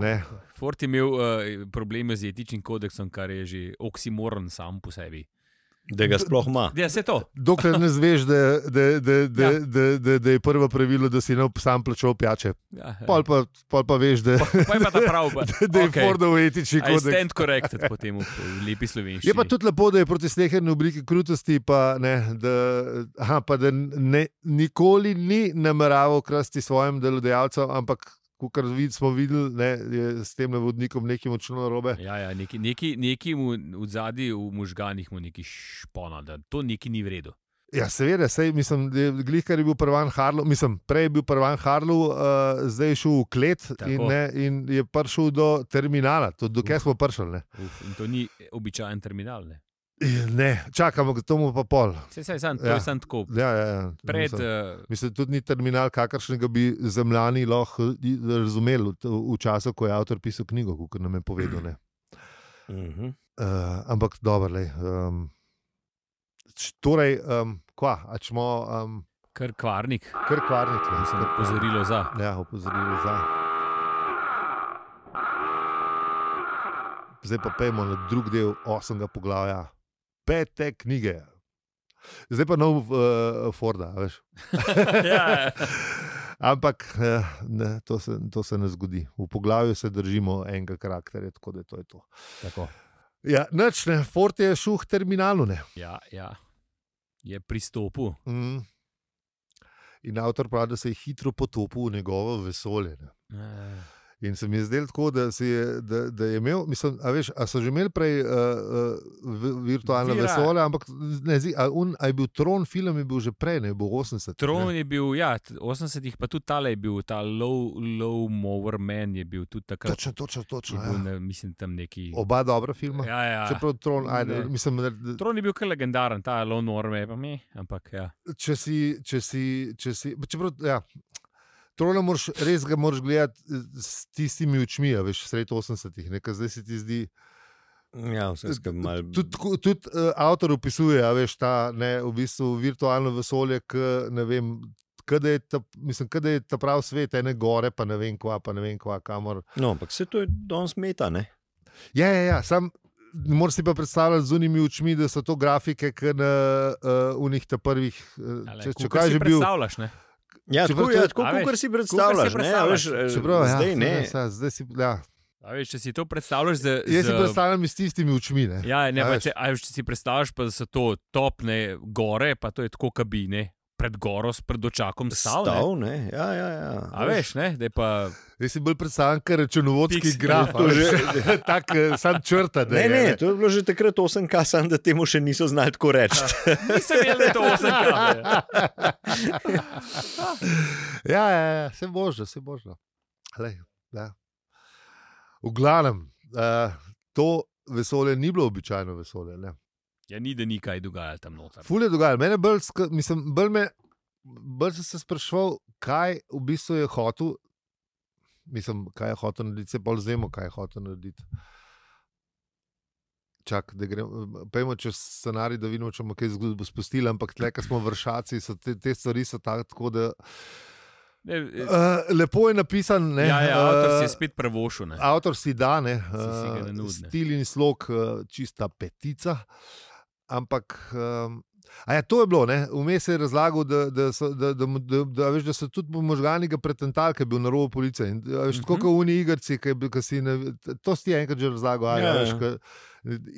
[SPEAKER 1] Ne,
[SPEAKER 2] Ford eh, je imel uh, probleme z etičnim kodeksom, kar je že oksimoron sam po sebi.
[SPEAKER 4] da ga sploh ima.
[SPEAKER 2] Ja, se to.
[SPEAKER 1] Dokler ne zveš, da, da, da, da,
[SPEAKER 2] Ja.
[SPEAKER 1] da, da, da je prvo pravilo, da si ne ob- sam plačal pijače.
[SPEAKER 2] Ja,
[SPEAKER 1] Pol pa, pol pa veš, da,
[SPEAKER 2] pa je pa ta prav. pa-
[SPEAKER 1] da je
[SPEAKER 2] okej.
[SPEAKER 1] okay. Fordov etični
[SPEAKER 2] I
[SPEAKER 1] kodeks.
[SPEAKER 2] stand corrected po tem v lepi slovenščini.
[SPEAKER 1] Je pa tudi lepo, da je proti sleherni obliki krutosti, pa, ne, da, aha, pa da ne, nikoli ni nameraval krasti svojim delodajalcem, ampak kar vid, smo videli, ne, je s tem vodnikom nekaj močno robe.
[SPEAKER 2] Ja, ja, neki, neki, neki mu v zadnji, v možganjih mu neki špona, da to neki ni v redu.
[SPEAKER 1] Ja, seveda, sej, mislim, da je glih, kar je bil prvan Harlow, mislim, prej je bil prvan Harlow, uh, zdaj je šel v klet
[SPEAKER 2] Tako.
[SPEAKER 1] in, ne, in je prišel do terminala, tudi dokaj smo prišli. Ne,
[SPEAKER 2] Uf, in to ni običajen terminal. Ne.
[SPEAKER 1] In ne čakamo, to mu pa pol.
[SPEAKER 2] Saj, saj, sam, to
[SPEAKER 1] Ja.
[SPEAKER 2] je samo tako.
[SPEAKER 1] Ja, ja, ja,
[SPEAKER 2] Pred,
[SPEAKER 1] mislim.
[SPEAKER 2] uh,
[SPEAKER 1] Mislim, tudi ni terminal, kakršnega bi zemljani lahko i- razumeli v, t- v času, ko je avtor pisal knjigo, kot nam je povedal. ne.
[SPEAKER 4] Mhm.
[SPEAKER 1] Uh, ampak dobro, le. Um, torej, um, kva, a čemo, um,
[SPEAKER 2] kar kvarnik,
[SPEAKER 1] kar kvarnik. ne,
[SPEAKER 2] mislim,
[SPEAKER 1] kar kvarnik.
[SPEAKER 2] opozorilo za.
[SPEAKER 1] Ja, opozorilo za. Zdaj pa pojmo na drugi del osmega poglavja, pete knjige. Zdaj pa nov uh, Forda, a veš.
[SPEAKER 2] ja,
[SPEAKER 1] Ampak eh, ne, to, se, to se ne zgodi. V poglavju se držimo enega karakterja, tako da to je to.
[SPEAKER 2] tako.
[SPEAKER 1] Ja, nič, ne, Fort je šel k terminalu. Ne.
[SPEAKER 2] Ja, ja. Je pristopil.
[SPEAKER 1] Mm. In avtor pravi, da se je hitro potopil v njegovo vesolje. Ne. Ja.
[SPEAKER 2] Eh,
[SPEAKER 1] In se mi je zdelo tako, da, si je, da, da je imel, mislim, a veš, a so že imeli prej uh, uh, virtualno
[SPEAKER 2] Vira.
[SPEAKER 1] vesolje, ampak ne zdi, a, un, a je bil tron, film je bil že prej, ne je bil 80.
[SPEAKER 2] Tron je bil, ja, t- 80-ih, pa tudi tale je bil, ta low, low mower man je bil tudi takrat.
[SPEAKER 1] Točno, točno,
[SPEAKER 2] Je
[SPEAKER 1] točno.
[SPEAKER 2] bil,
[SPEAKER 1] Ja.
[SPEAKER 2] ne, mislim, tam neki.
[SPEAKER 1] Oba dobra filma.
[SPEAKER 2] Ja, ja.
[SPEAKER 1] Čeprav tron, ajde,
[SPEAKER 2] Ne.
[SPEAKER 1] mislim, da,
[SPEAKER 2] Tron je bil kar legendaren, ta low norm je pa mi, ampak ja.
[SPEAKER 1] če si, če si, če si čeprav, ja, Trole moraš, res ga moraš gledati eh, s tistimi očmi, a veš, sred 80-ih, nekaj zdaj se ti zdi.
[SPEAKER 4] Ja, vse skupaj malo.
[SPEAKER 1] Tudi tud, uh, avtor opisuje, a veš, ta ne, v bistvu virtualno vesolje, k, ne vem, kaj je, ta- mislim, ke da je ta prav svet, ene gore, pa ne vem kva, pa ne vem kva, kamor.
[SPEAKER 4] No, ampak vse to je danes meta, ne?
[SPEAKER 1] Ja, ja, ja sam moraš si pa predstavljati z unimi očmi, da so to grafike, ki na uh, unih ta prvih, uh,
[SPEAKER 2] Ale,
[SPEAKER 1] če, če
[SPEAKER 2] kakor
[SPEAKER 1] kaj
[SPEAKER 2] si
[SPEAKER 1] že bil.
[SPEAKER 2] Predstavljaš, ne?
[SPEAKER 4] Ja,
[SPEAKER 1] Čeprav
[SPEAKER 4] tako,
[SPEAKER 1] to je-
[SPEAKER 4] ja, tako
[SPEAKER 2] A
[SPEAKER 4] kot
[SPEAKER 2] veš,
[SPEAKER 4] si
[SPEAKER 2] kakor
[SPEAKER 4] predstavljaš.
[SPEAKER 2] si
[SPEAKER 4] Ne, a
[SPEAKER 2] predstavljaš.
[SPEAKER 4] veš, eh,
[SPEAKER 1] Čeprav, ja,
[SPEAKER 4] zdaj ne.
[SPEAKER 1] Zdaj, zdaj si, ja,
[SPEAKER 2] A veš, če si to predstavljaš, da
[SPEAKER 1] Jaz si predstavljam s tistimi očmi. Ne? Ja.
[SPEAKER 2] Ja, ne,
[SPEAKER 1] A
[SPEAKER 2] pa,
[SPEAKER 1] veš.
[SPEAKER 2] če, a veš, če si predstavljaš, pa, da so to topne gore, pa to je tako kabine, pred goro, s pred očakom stav. ne.
[SPEAKER 4] Stav, ne? Ja, ja, ja.
[SPEAKER 2] A veš, ne, da je pa.
[SPEAKER 1] Jaz si bolj predstavljam, ker računovodski
[SPEAKER 2] Pixel.
[SPEAKER 1] graf,
[SPEAKER 4] To
[SPEAKER 1] a
[SPEAKER 4] že-
[SPEAKER 1] veš, tak, eh, sam črta. Da
[SPEAKER 4] Ne,
[SPEAKER 1] je,
[SPEAKER 4] ne, to je bilo že takrat 8K, samo da temu še niso znali tako reči.
[SPEAKER 2] Ja. Nisem videl, da je to 8K.
[SPEAKER 1] Ja, ja, ja, se božje, se božje. Ja. V glavnem, uh, to vesolje ni bilo običajno vesolje. Ne.
[SPEAKER 2] Ja, ni da ni kaj dogajalo tam noter.
[SPEAKER 1] Ful je dogajalo. Mene bolj, sk- mislim, bolj, me, bolj sem se spraševal, kaj v bistvu je hotel. Mislim, kaj je hotel narediti, se bolj znemo, kaj je hotel narediti. Čak, da gremo, pojmo čez scenarij, da vidimo, če bomo kaj zgodbo spustili, ampak tle, ker smo vršaci, so te, te stvari so tak- tako, da.
[SPEAKER 2] Ne, eh,
[SPEAKER 1] Uh, lepo je napisan, ne.
[SPEAKER 2] ja, ja, avtor si je
[SPEAKER 1] eh,
[SPEAKER 2] spet prevošil. ne.
[SPEAKER 1] Avtor si da, ne,
[SPEAKER 2] si ga
[SPEAKER 1] eh,
[SPEAKER 2] nanudil, ne.
[SPEAKER 1] stil in slog, eh, čista petica. Ampak. Um, A ja, to je bilo, ne? vmes je razlagal, da, da, so, da, da, mu- da, da, veš, da so tudi možgani ga pretentali, ker je bil na robu policije. In, a veš, tako
[SPEAKER 2] Mhm.
[SPEAKER 1] kot v Uniji igrici, ki je bil- ki si ne, to si ti enkrat že razlagal, ali
[SPEAKER 4] Ja,
[SPEAKER 1] ja, veš,
[SPEAKER 4] ja.
[SPEAKER 1] ka,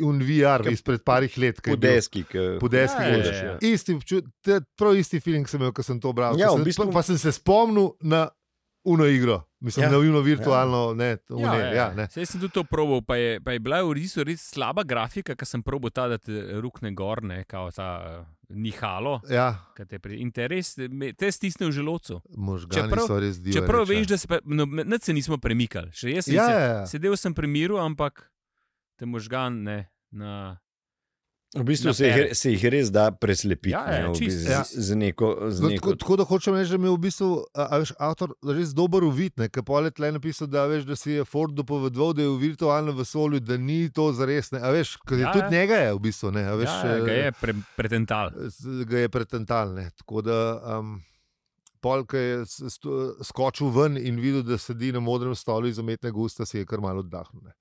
[SPEAKER 1] un VR izpred parih let, ki je
[SPEAKER 4] Po
[SPEAKER 1] bil
[SPEAKER 4] deski. ke-
[SPEAKER 1] po deski.
[SPEAKER 2] Ja,
[SPEAKER 1] Ja,
[SPEAKER 2] ja,
[SPEAKER 1] ja,
[SPEAKER 2] ja.
[SPEAKER 1] ja. Isti občutek, prav isti feeling sem imel, ko sem to bral.
[SPEAKER 4] Ja,
[SPEAKER 1] Ko
[SPEAKER 4] v
[SPEAKER 1] sem-
[SPEAKER 4] bistvu-
[SPEAKER 1] pa, pa sem se spomnil na uno igro, mislim,
[SPEAKER 4] Ja.
[SPEAKER 1] ja. na uno virtualno, ja. ne, to,
[SPEAKER 2] Ja,
[SPEAKER 1] ja, ne, ja, ne.
[SPEAKER 2] Saj sem tudi to probal, pa je, pa je bila v risu res slaba grafika, ker sem probal ta, da te rukne gor, ne, kao ta uh, nihalo.
[SPEAKER 1] Ja,
[SPEAKER 2] ki te pri- In te res, me- te stisne v želodcu.
[SPEAKER 1] možgani
[SPEAKER 2] Čeprav-
[SPEAKER 1] čeprav, so res divni.
[SPEAKER 2] Čeprav veš, da se, pa- no, ne, se nismo premikali, še jaz sem
[SPEAKER 1] ja,
[SPEAKER 2] se,
[SPEAKER 1] ja, ja.
[SPEAKER 2] Sedel sem pri miru, ampak te možgan ne. Na...
[SPEAKER 4] V bistvu se
[SPEAKER 2] Napere.
[SPEAKER 4] jih, se jih res da preslepiti.
[SPEAKER 2] Ja, ja,
[SPEAKER 4] ne, v
[SPEAKER 2] čisto.
[SPEAKER 4] bistvu,
[SPEAKER 1] Ja.
[SPEAKER 4] Z, z neko. Z
[SPEAKER 1] No,
[SPEAKER 4] neko
[SPEAKER 1] tako, tako da hočem reči, da mi je v bistvu a, a veš, avtor res dober uvid, ki pa je tle napisal, da, veš, da si je Ford dopovedoval, da je v virtualnem vesolju, da ni to zares. Ne, a veš, ker je
[SPEAKER 2] Ja,
[SPEAKER 1] tudi
[SPEAKER 2] ja.
[SPEAKER 1] njega je v bistvu. Ne, a veš, eh,
[SPEAKER 2] ja, ja, ga je pre, pretental.
[SPEAKER 1] z- ga je pretentalne. Tako da um, Polk je s- sto- skočil ven in videl, da sedi na modrem stolu iz umetnega usta, si je kar malo oddahnil. ne.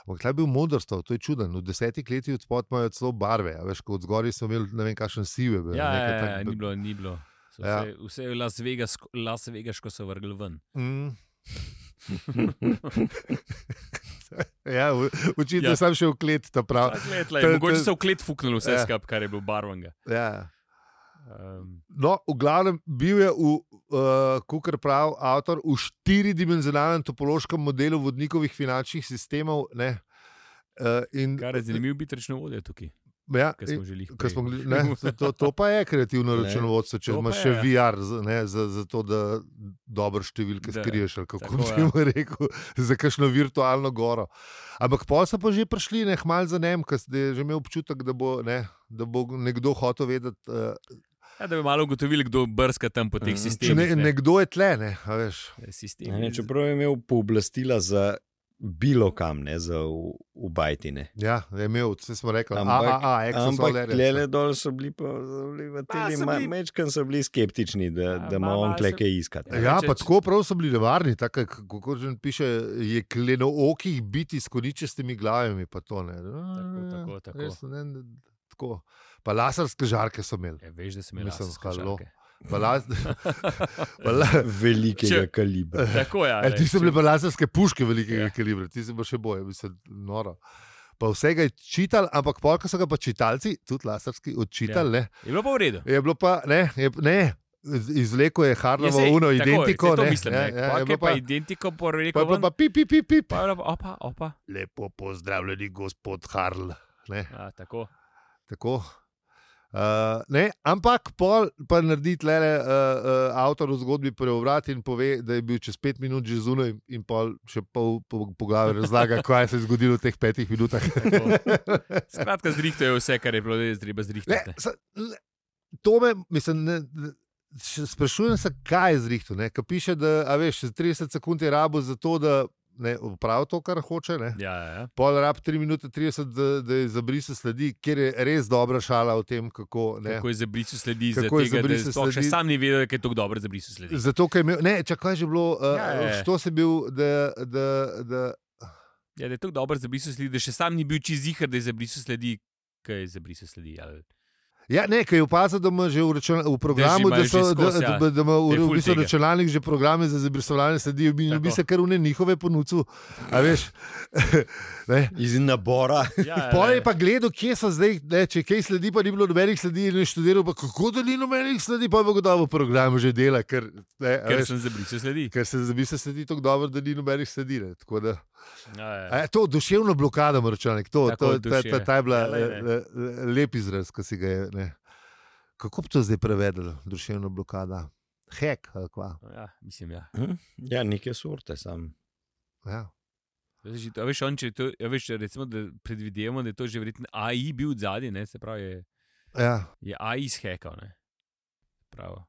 [SPEAKER 1] Ampak ta je bil modrstav, to je čuden. V desetih letih od spod imajo celo barve, a veš, kot zgori so imeli ne vem, kakšen sive.
[SPEAKER 2] Ja, ja, ja, ja, ni bilo, ni bilo. So
[SPEAKER 1] Ja.
[SPEAKER 2] Vse, vse je Las, Vegas, Las Vegasko so vrgli ven.
[SPEAKER 1] Mm. ja, u- očitno ja.
[SPEAKER 2] Ja.
[SPEAKER 1] sem še v klet, ta pravi.
[SPEAKER 2] Vsak let, lej,
[SPEAKER 1] to- to-
[SPEAKER 2] Mogoče so v klet fuknili vse
[SPEAKER 1] Ja.
[SPEAKER 2] skupaj, kar je bilo barvanga.
[SPEAKER 1] Ja.
[SPEAKER 2] Um,
[SPEAKER 1] No, v glavnem, bil je, v, uh, kar pravi avtor, v štiridimenzionalnem topološkem modelu vodnikovih finančnih sistemov. Ne, uh, in,
[SPEAKER 2] kar je zanimivo, biti računovodje tukaj,
[SPEAKER 1] ja,
[SPEAKER 2] ki smo želeli.
[SPEAKER 1] Ko smo bili, ne, to- to, to pa je kreativno
[SPEAKER 4] Ne.
[SPEAKER 1] računovodstvo, če
[SPEAKER 2] To pa
[SPEAKER 1] imaš
[SPEAKER 2] je,
[SPEAKER 1] še
[SPEAKER 2] ja.
[SPEAKER 1] VR, z- ne, za, za to, da dobro številke
[SPEAKER 2] Da,
[SPEAKER 1] skriješ, ali kako
[SPEAKER 2] tako,
[SPEAKER 1] bi
[SPEAKER 2] ja.
[SPEAKER 1] jim rekel, za kakšno virtualno goro. Ampak pol so pa že prišli, ne, hmal za nem, ker si že imel občutek, da bo, ne, da bo nekdo hotel vedeti. Uh,
[SPEAKER 2] Ja, da bi malo ugotovili, kdo brska tam po teh
[SPEAKER 4] Mhm.
[SPEAKER 1] če
[SPEAKER 2] sistemih. Eh,
[SPEAKER 1] ne, nekdo je tle, ne, a veš.
[SPEAKER 2] Sistemi,
[SPEAKER 4] Ne, ne, čeprav je imel pooblastila za bilo kam, ne za v- ubajtine.
[SPEAKER 1] Ja, je imel, vse smo rekli, a, a,
[SPEAKER 4] Ampak-
[SPEAKER 1] a,
[SPEAKER 4] Ampak le
[SPEAKER 1] eksosolerje.
[SPEAKER 4] dol so bili, pa so bili v
[SPEAKER 2] Pa so
[SPEAKER 4] tem,
[SPEAKER 2] bili-
[SPEAKER 4] mečkam so bili skeptični,
[SPEAKER 2] Ja,
[SPEAKER 4] da, da ima
[SPEAKER 2] ma-
[SPEAKER 4] on
[SPEAKER 2] ma so-
[SPEAKER 4] kleke iskati.
[SPEAKER 1] Ja,
[SPEAKER 2] Če-
[SPEAKER 1] pa
[SPEAKER 2] če-
[SPEAKER 1] tako prav so bili nevarni, tako kot že piše, je kleno okih biti s koničestimi glavami, pa to ne. Ah,
[SPEAKER 2] Tako, tako, tako.
[SPEAKER 1] Res, ne, ne, tako. Pa laserske žarke so imeli.
[SPEAKER 2] Ja, veš, da sem imel
[SPEAKER 1] Mislim,
[SPEAKER 2] laserske
[SPEAKER 1] halo.
[SPEAKER 2] žarke.
[SPEAKER 1] Pa las... pa la...
[SPEAKER 4] Velikega
[SPEAKER 2] Če-
[SPEAKER 4] kalibra.
[SPEAKER 2] Tako ja, je.
[SPEAKER 1] e, ti so bile pa laserske puške velikega
[SPEAKER 2] Ja.
[SPEAKER 1] ja. kalibra, ti si pa še boje, mislim, noro. Pa vsega je čital, ampak polka so ga pa čitalci, tudi laserski, odčitali. Ja.
[SPEAKER 2] Je bilo pa v redu.
[SPEAKER 1] Je bilo pa, ne, je, ne izvleko je
[SPEAKER 2] Ja,
[SPEAKER 1] Harlovo,
[SPEAKER 2] sej,
[SPEAKER 1] uno,
[SPEAKER 2] tako je, sej
[SPEAKER 1] identiko.
[SPEAKER 2] to
[SPEAKER 1] ne,
[SPEAKER 2] mislim,
[SPEAKER 1] ja, ja,
[SPEAKER 2] ne.
[SPEAKER 1] je
[SPEAKER 2] Pak
[SPEAKER 1] bilo
[SPEAKER 2] je
[SPEAKER 1] pa,
[SPEAKER 2] pa identiko, po
[SPEAKER 1] pa,
[SPEAKER 2] rekel,
[SPEAKER 1] pa,
[SPEAKER 2] ven,
[SPEAKER 1] pa, pi, pi, pi, pi.
[SPEAKER 2] pa je bilo pa opa, opa.
[SPEAKER 1] Lepo pozdravljeni, gospod Harl. Ne,
[SPEAKER 2] A, Ja, tako.
[SPEAKER 1] tako. Uh, ne, ampak pol pa naredi tle uh, uh, avtor v zgodbi preobrat in pove, da je bil čez pet minut že zunaj, in pol še pol po- poglavja razlaga, kaj se je zgodilo v teh petih minutah.
[SPEAKER 2] tako. Skratka, zrihtajo vse, kar je bilo, da je treba
[SPEAKER 1] Ne,
[SPEAKER 2] zrihtati.
[SPEAKER 1] sa, ne, to me, mislim, ne, ne, še sprašujem se, kaj je zrihtu. Kaj piše, da a veš, 30 sekund je rabo za to, da ne, opravi to, kar hoče. Ne?
[SPEAKER 2] Ja, ja, ja.
[SPEAKER 1] Pol rab 3 minute 30, da, da je zabrisal sledi, ker je res dobra šala o tem, kako. Ne,
[SPEAKER 2] Kako je za brisu sledi, za
[SPEAKER 1] Kako je za
[SPEAKER 2] tega, da
[SPEAKER 1] brisu
[SPEAKER 2] sploh še
[SPEAKER 1] sledi.
[SPEAKER 2] sam ni vedel, da je tako dobro za brisu sledi.
[SPEAKER 1] Zato, ker je imel, ne, čakaj, že bilo, uh,
[SPEAKER 2] Ja,
[SPEAKER 1] ja,
[SPEAKER 2] ja, ja.
[SPEAKER 1] što si bil, da, da, da
[SPEAKER 2] Ja, da je tako dobro za brisu sledi, da še sam ni bil čizihar, da je za brisu sledi, kaj je za brisu sledi. ali-
[SPEAKER 1] Ja, ne, ker je opazil, da ima že v, račun, v programu,
[SPEAKER 2] imajo
[SPEAKER 1] da,
[SPEAKER 2] že
[SPEAKER 1] so,
[SPEAKER 2] skozi,
[SPEAKER 1] da,
[SPEAKER 2] ja.
[SPEAKER 1] da, da ima
[SPEAKER 2] Da je
[SPEAKER 1] v,
[SPEAKER 2] ful
[SPEAKER 1] v bistvu
[SPEAKER 2] tega.
[SPEAKER 1] računalnik že programe za zabrisovanje sledi in
[SPEAKER 2] Tako.
[SPEAKER 1] bi se kar v ne njihove ponudil. A veš, ne.
[SPEAKER 4] Iz nabora.
[SPEAKER 2] Ja, ja,
[SPEAKER 1] Pol
[SPEAKER 2] ja.
[SPEAKER 1] je pa gledal, kje so zdaj, ne, če kaj sledi, pa ni bilo nobenih sledi, in je študiral, pa kako da ni nobenih sledi, pa bo gotovo v programu že dela, ker, ne, a Ja,
[SPEAKER 2] Ker
[SPEAKER 1] veš,
[SPEAKER 2] sem za brisu sledi.
[SPEAKER 1] ker se zabi se sledi tako dobro, da ni nobenih sledi. Ne, tako da,
[SPEAKER 2] Ja, ja.
[SPEAKER 1] a, je to duševno blokado, računalnik, to,
[SPEAKER 2] Tako,
[SPEAKER 1] to, ta, ta,
[SPEAKER 2] duše.
[SPEAKER 1] ta je bila
[SPEAKER 2] Ja, lej,
[SPEAKER 1] eh,
[SPEAKER 2] ne.
[SPEAKER 1] eh, lep izraz, ki si ga je. Ne. Kako bi to zdaj prevedel, duševna blokada? Hek, ali kva.
[SPEAKER 2] Ja, mislim, ja.
[SPEAKER 4] Ja, neke sorte sam.
[SPEAKER 1] Ja.
[SPEAKER 2] Zdaj, že to- a Veš, on, če je to, a veš, recimo, da predvidevamo, da je to že verjetno AI bil zadnji, se pravi, je,
[SPEAKER 1] Ja.
[SPEAKER 2] je AI izhekal. ne. Prav.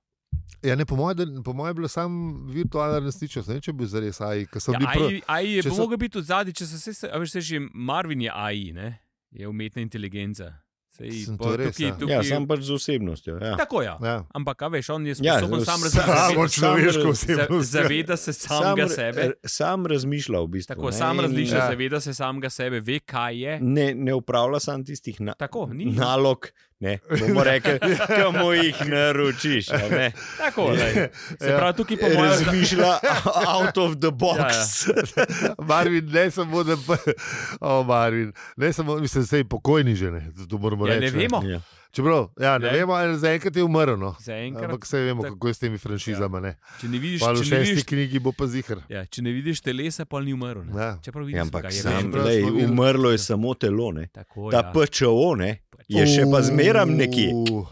[SPEAKER 1] Ja, ne, po mojem moje je bilo samo virtualna resničnost, ne vem, če bi bil zares AI. ker so
[SPEAKER 2] Ja,
[SPEAKER 1] bili pro-
[SPEAKER 2] AI, AI je
[SPEAKER 1] če
[SPEAKER 2] pa
[SPEAKER 1] so-
[SPEAKER 2] mogel biti od zadnji, če so se, se- a veš, se že Marvin je AI, ne? je umetna inteligenca. Sej,
[SPEAKER 1] Sem
[SPEAKER 2] po,
[SPEAKER 1] to res,
[SPEAKER 2] tukaj,
[SPEAKER 1] ja.
[SPEAKER 2] tukaj,
[SPEAKER 4] Ja, sam pač z osebnostjo. Ja.
[SPEAKER 2] Tako ja.
[SPEAKER 1] Ja.
[SPEAKER 2] Ampak, a veš, on je
[SPEAKER 4] Ja,
[SPEAKER 2] sposoben sam
[SPEAKER 4] sam-
[SPEAKER 1] Samo
[SPEAKER 2] razmišljati.
[SPEAKER 1] človeško
[SPEAKER 4] Sam-
[SPEAKER 1] osebnost.
[SPEAKER 2] Zaveda se samega
[SPEAKER 4] ra-
[SPEAKER 2] sebe.
[SPEAKER 4] r- sam razmišlja v bistvu.
[SPEAKER 2] Tako,
[SPEAKER 4] ne,
[SPEAKER 2] sam
[SPEAKER 4] in-
[SPEAKER 2] razmišlja,
[SPEAKER 1] ja.
[SPEAKER 2] zaveda se samega sebe, ve, kaj je.
[SPEAKER 4] Ne, ne upravlja sam tistih na,
[SPEAKER 2] Tako, ni.
[SPEAKER 4] nalog, ne bomo rekli, kamu jih naročiš. a Ne?
[SPEAKER 2] Tako, lej. se
[SPEAKER 1] Ja.
[SPEAKER 2] pravi, tukaj pa moja
[SPEAKER 4] Razmišlja out of the box. Ja, ja.
[SPEAKER 1] Marvin, ne samo, da je oh, Marvin, ne samo, mislim, da je pokojni že, ne, to moramo
[SPEAKER 2] Ja, ne
[SPEAKER 1] reči.
[SPEAKER 2] vemo.
[SPEAKER 4] Ja.
[SPEAKER 1] Čeprav, ja, ne,
[SPEAKER 2] Ne.
[SPEAKER 1] ne vemo, ali zaenkrat je umrl. No.
[SPEAKER 2] Zaenkrat,
[SPEAKER 1] Ampak vse vemo,
[SPEAKER 2] tako-
[SPEAKER 1] kako je s temi franšizami. ne.
[SPEAKER 2] če ne vidiš,
[SPEAKER 1] Pa v
[SPEAKER 2] če ne vidiš,
[SPEAKER 1] šesti knjigi bo pa zihar.
[SPEAKER 2] ja, če ne vidiš telesa, pa ni umrl. ne.
[SPEAKER 1] Ja.
[SPEAKER 2] Čeprav vidiš,
[SPEAKER 4] Ja, ampak
[SPEAKER 2] kaj je
[SPEAKER 4] sam,
[SPEAKER 1] veš,
[SPEAKER 2] bilo.
[SPEAKER 1] prav
[SPEAKER 4] lej,
[SPEAKER 1] smo videli.
[SPEAKER 4] umrlo je samo telo, ne.
[SPEAKER 2] Tako,
[SPEAKER 4] ta
[SPEAKER 2] ja.
[SPEAKER 4] PČO ne, je še pa zmeraj nekje.
[SPEAKER 1] Uh,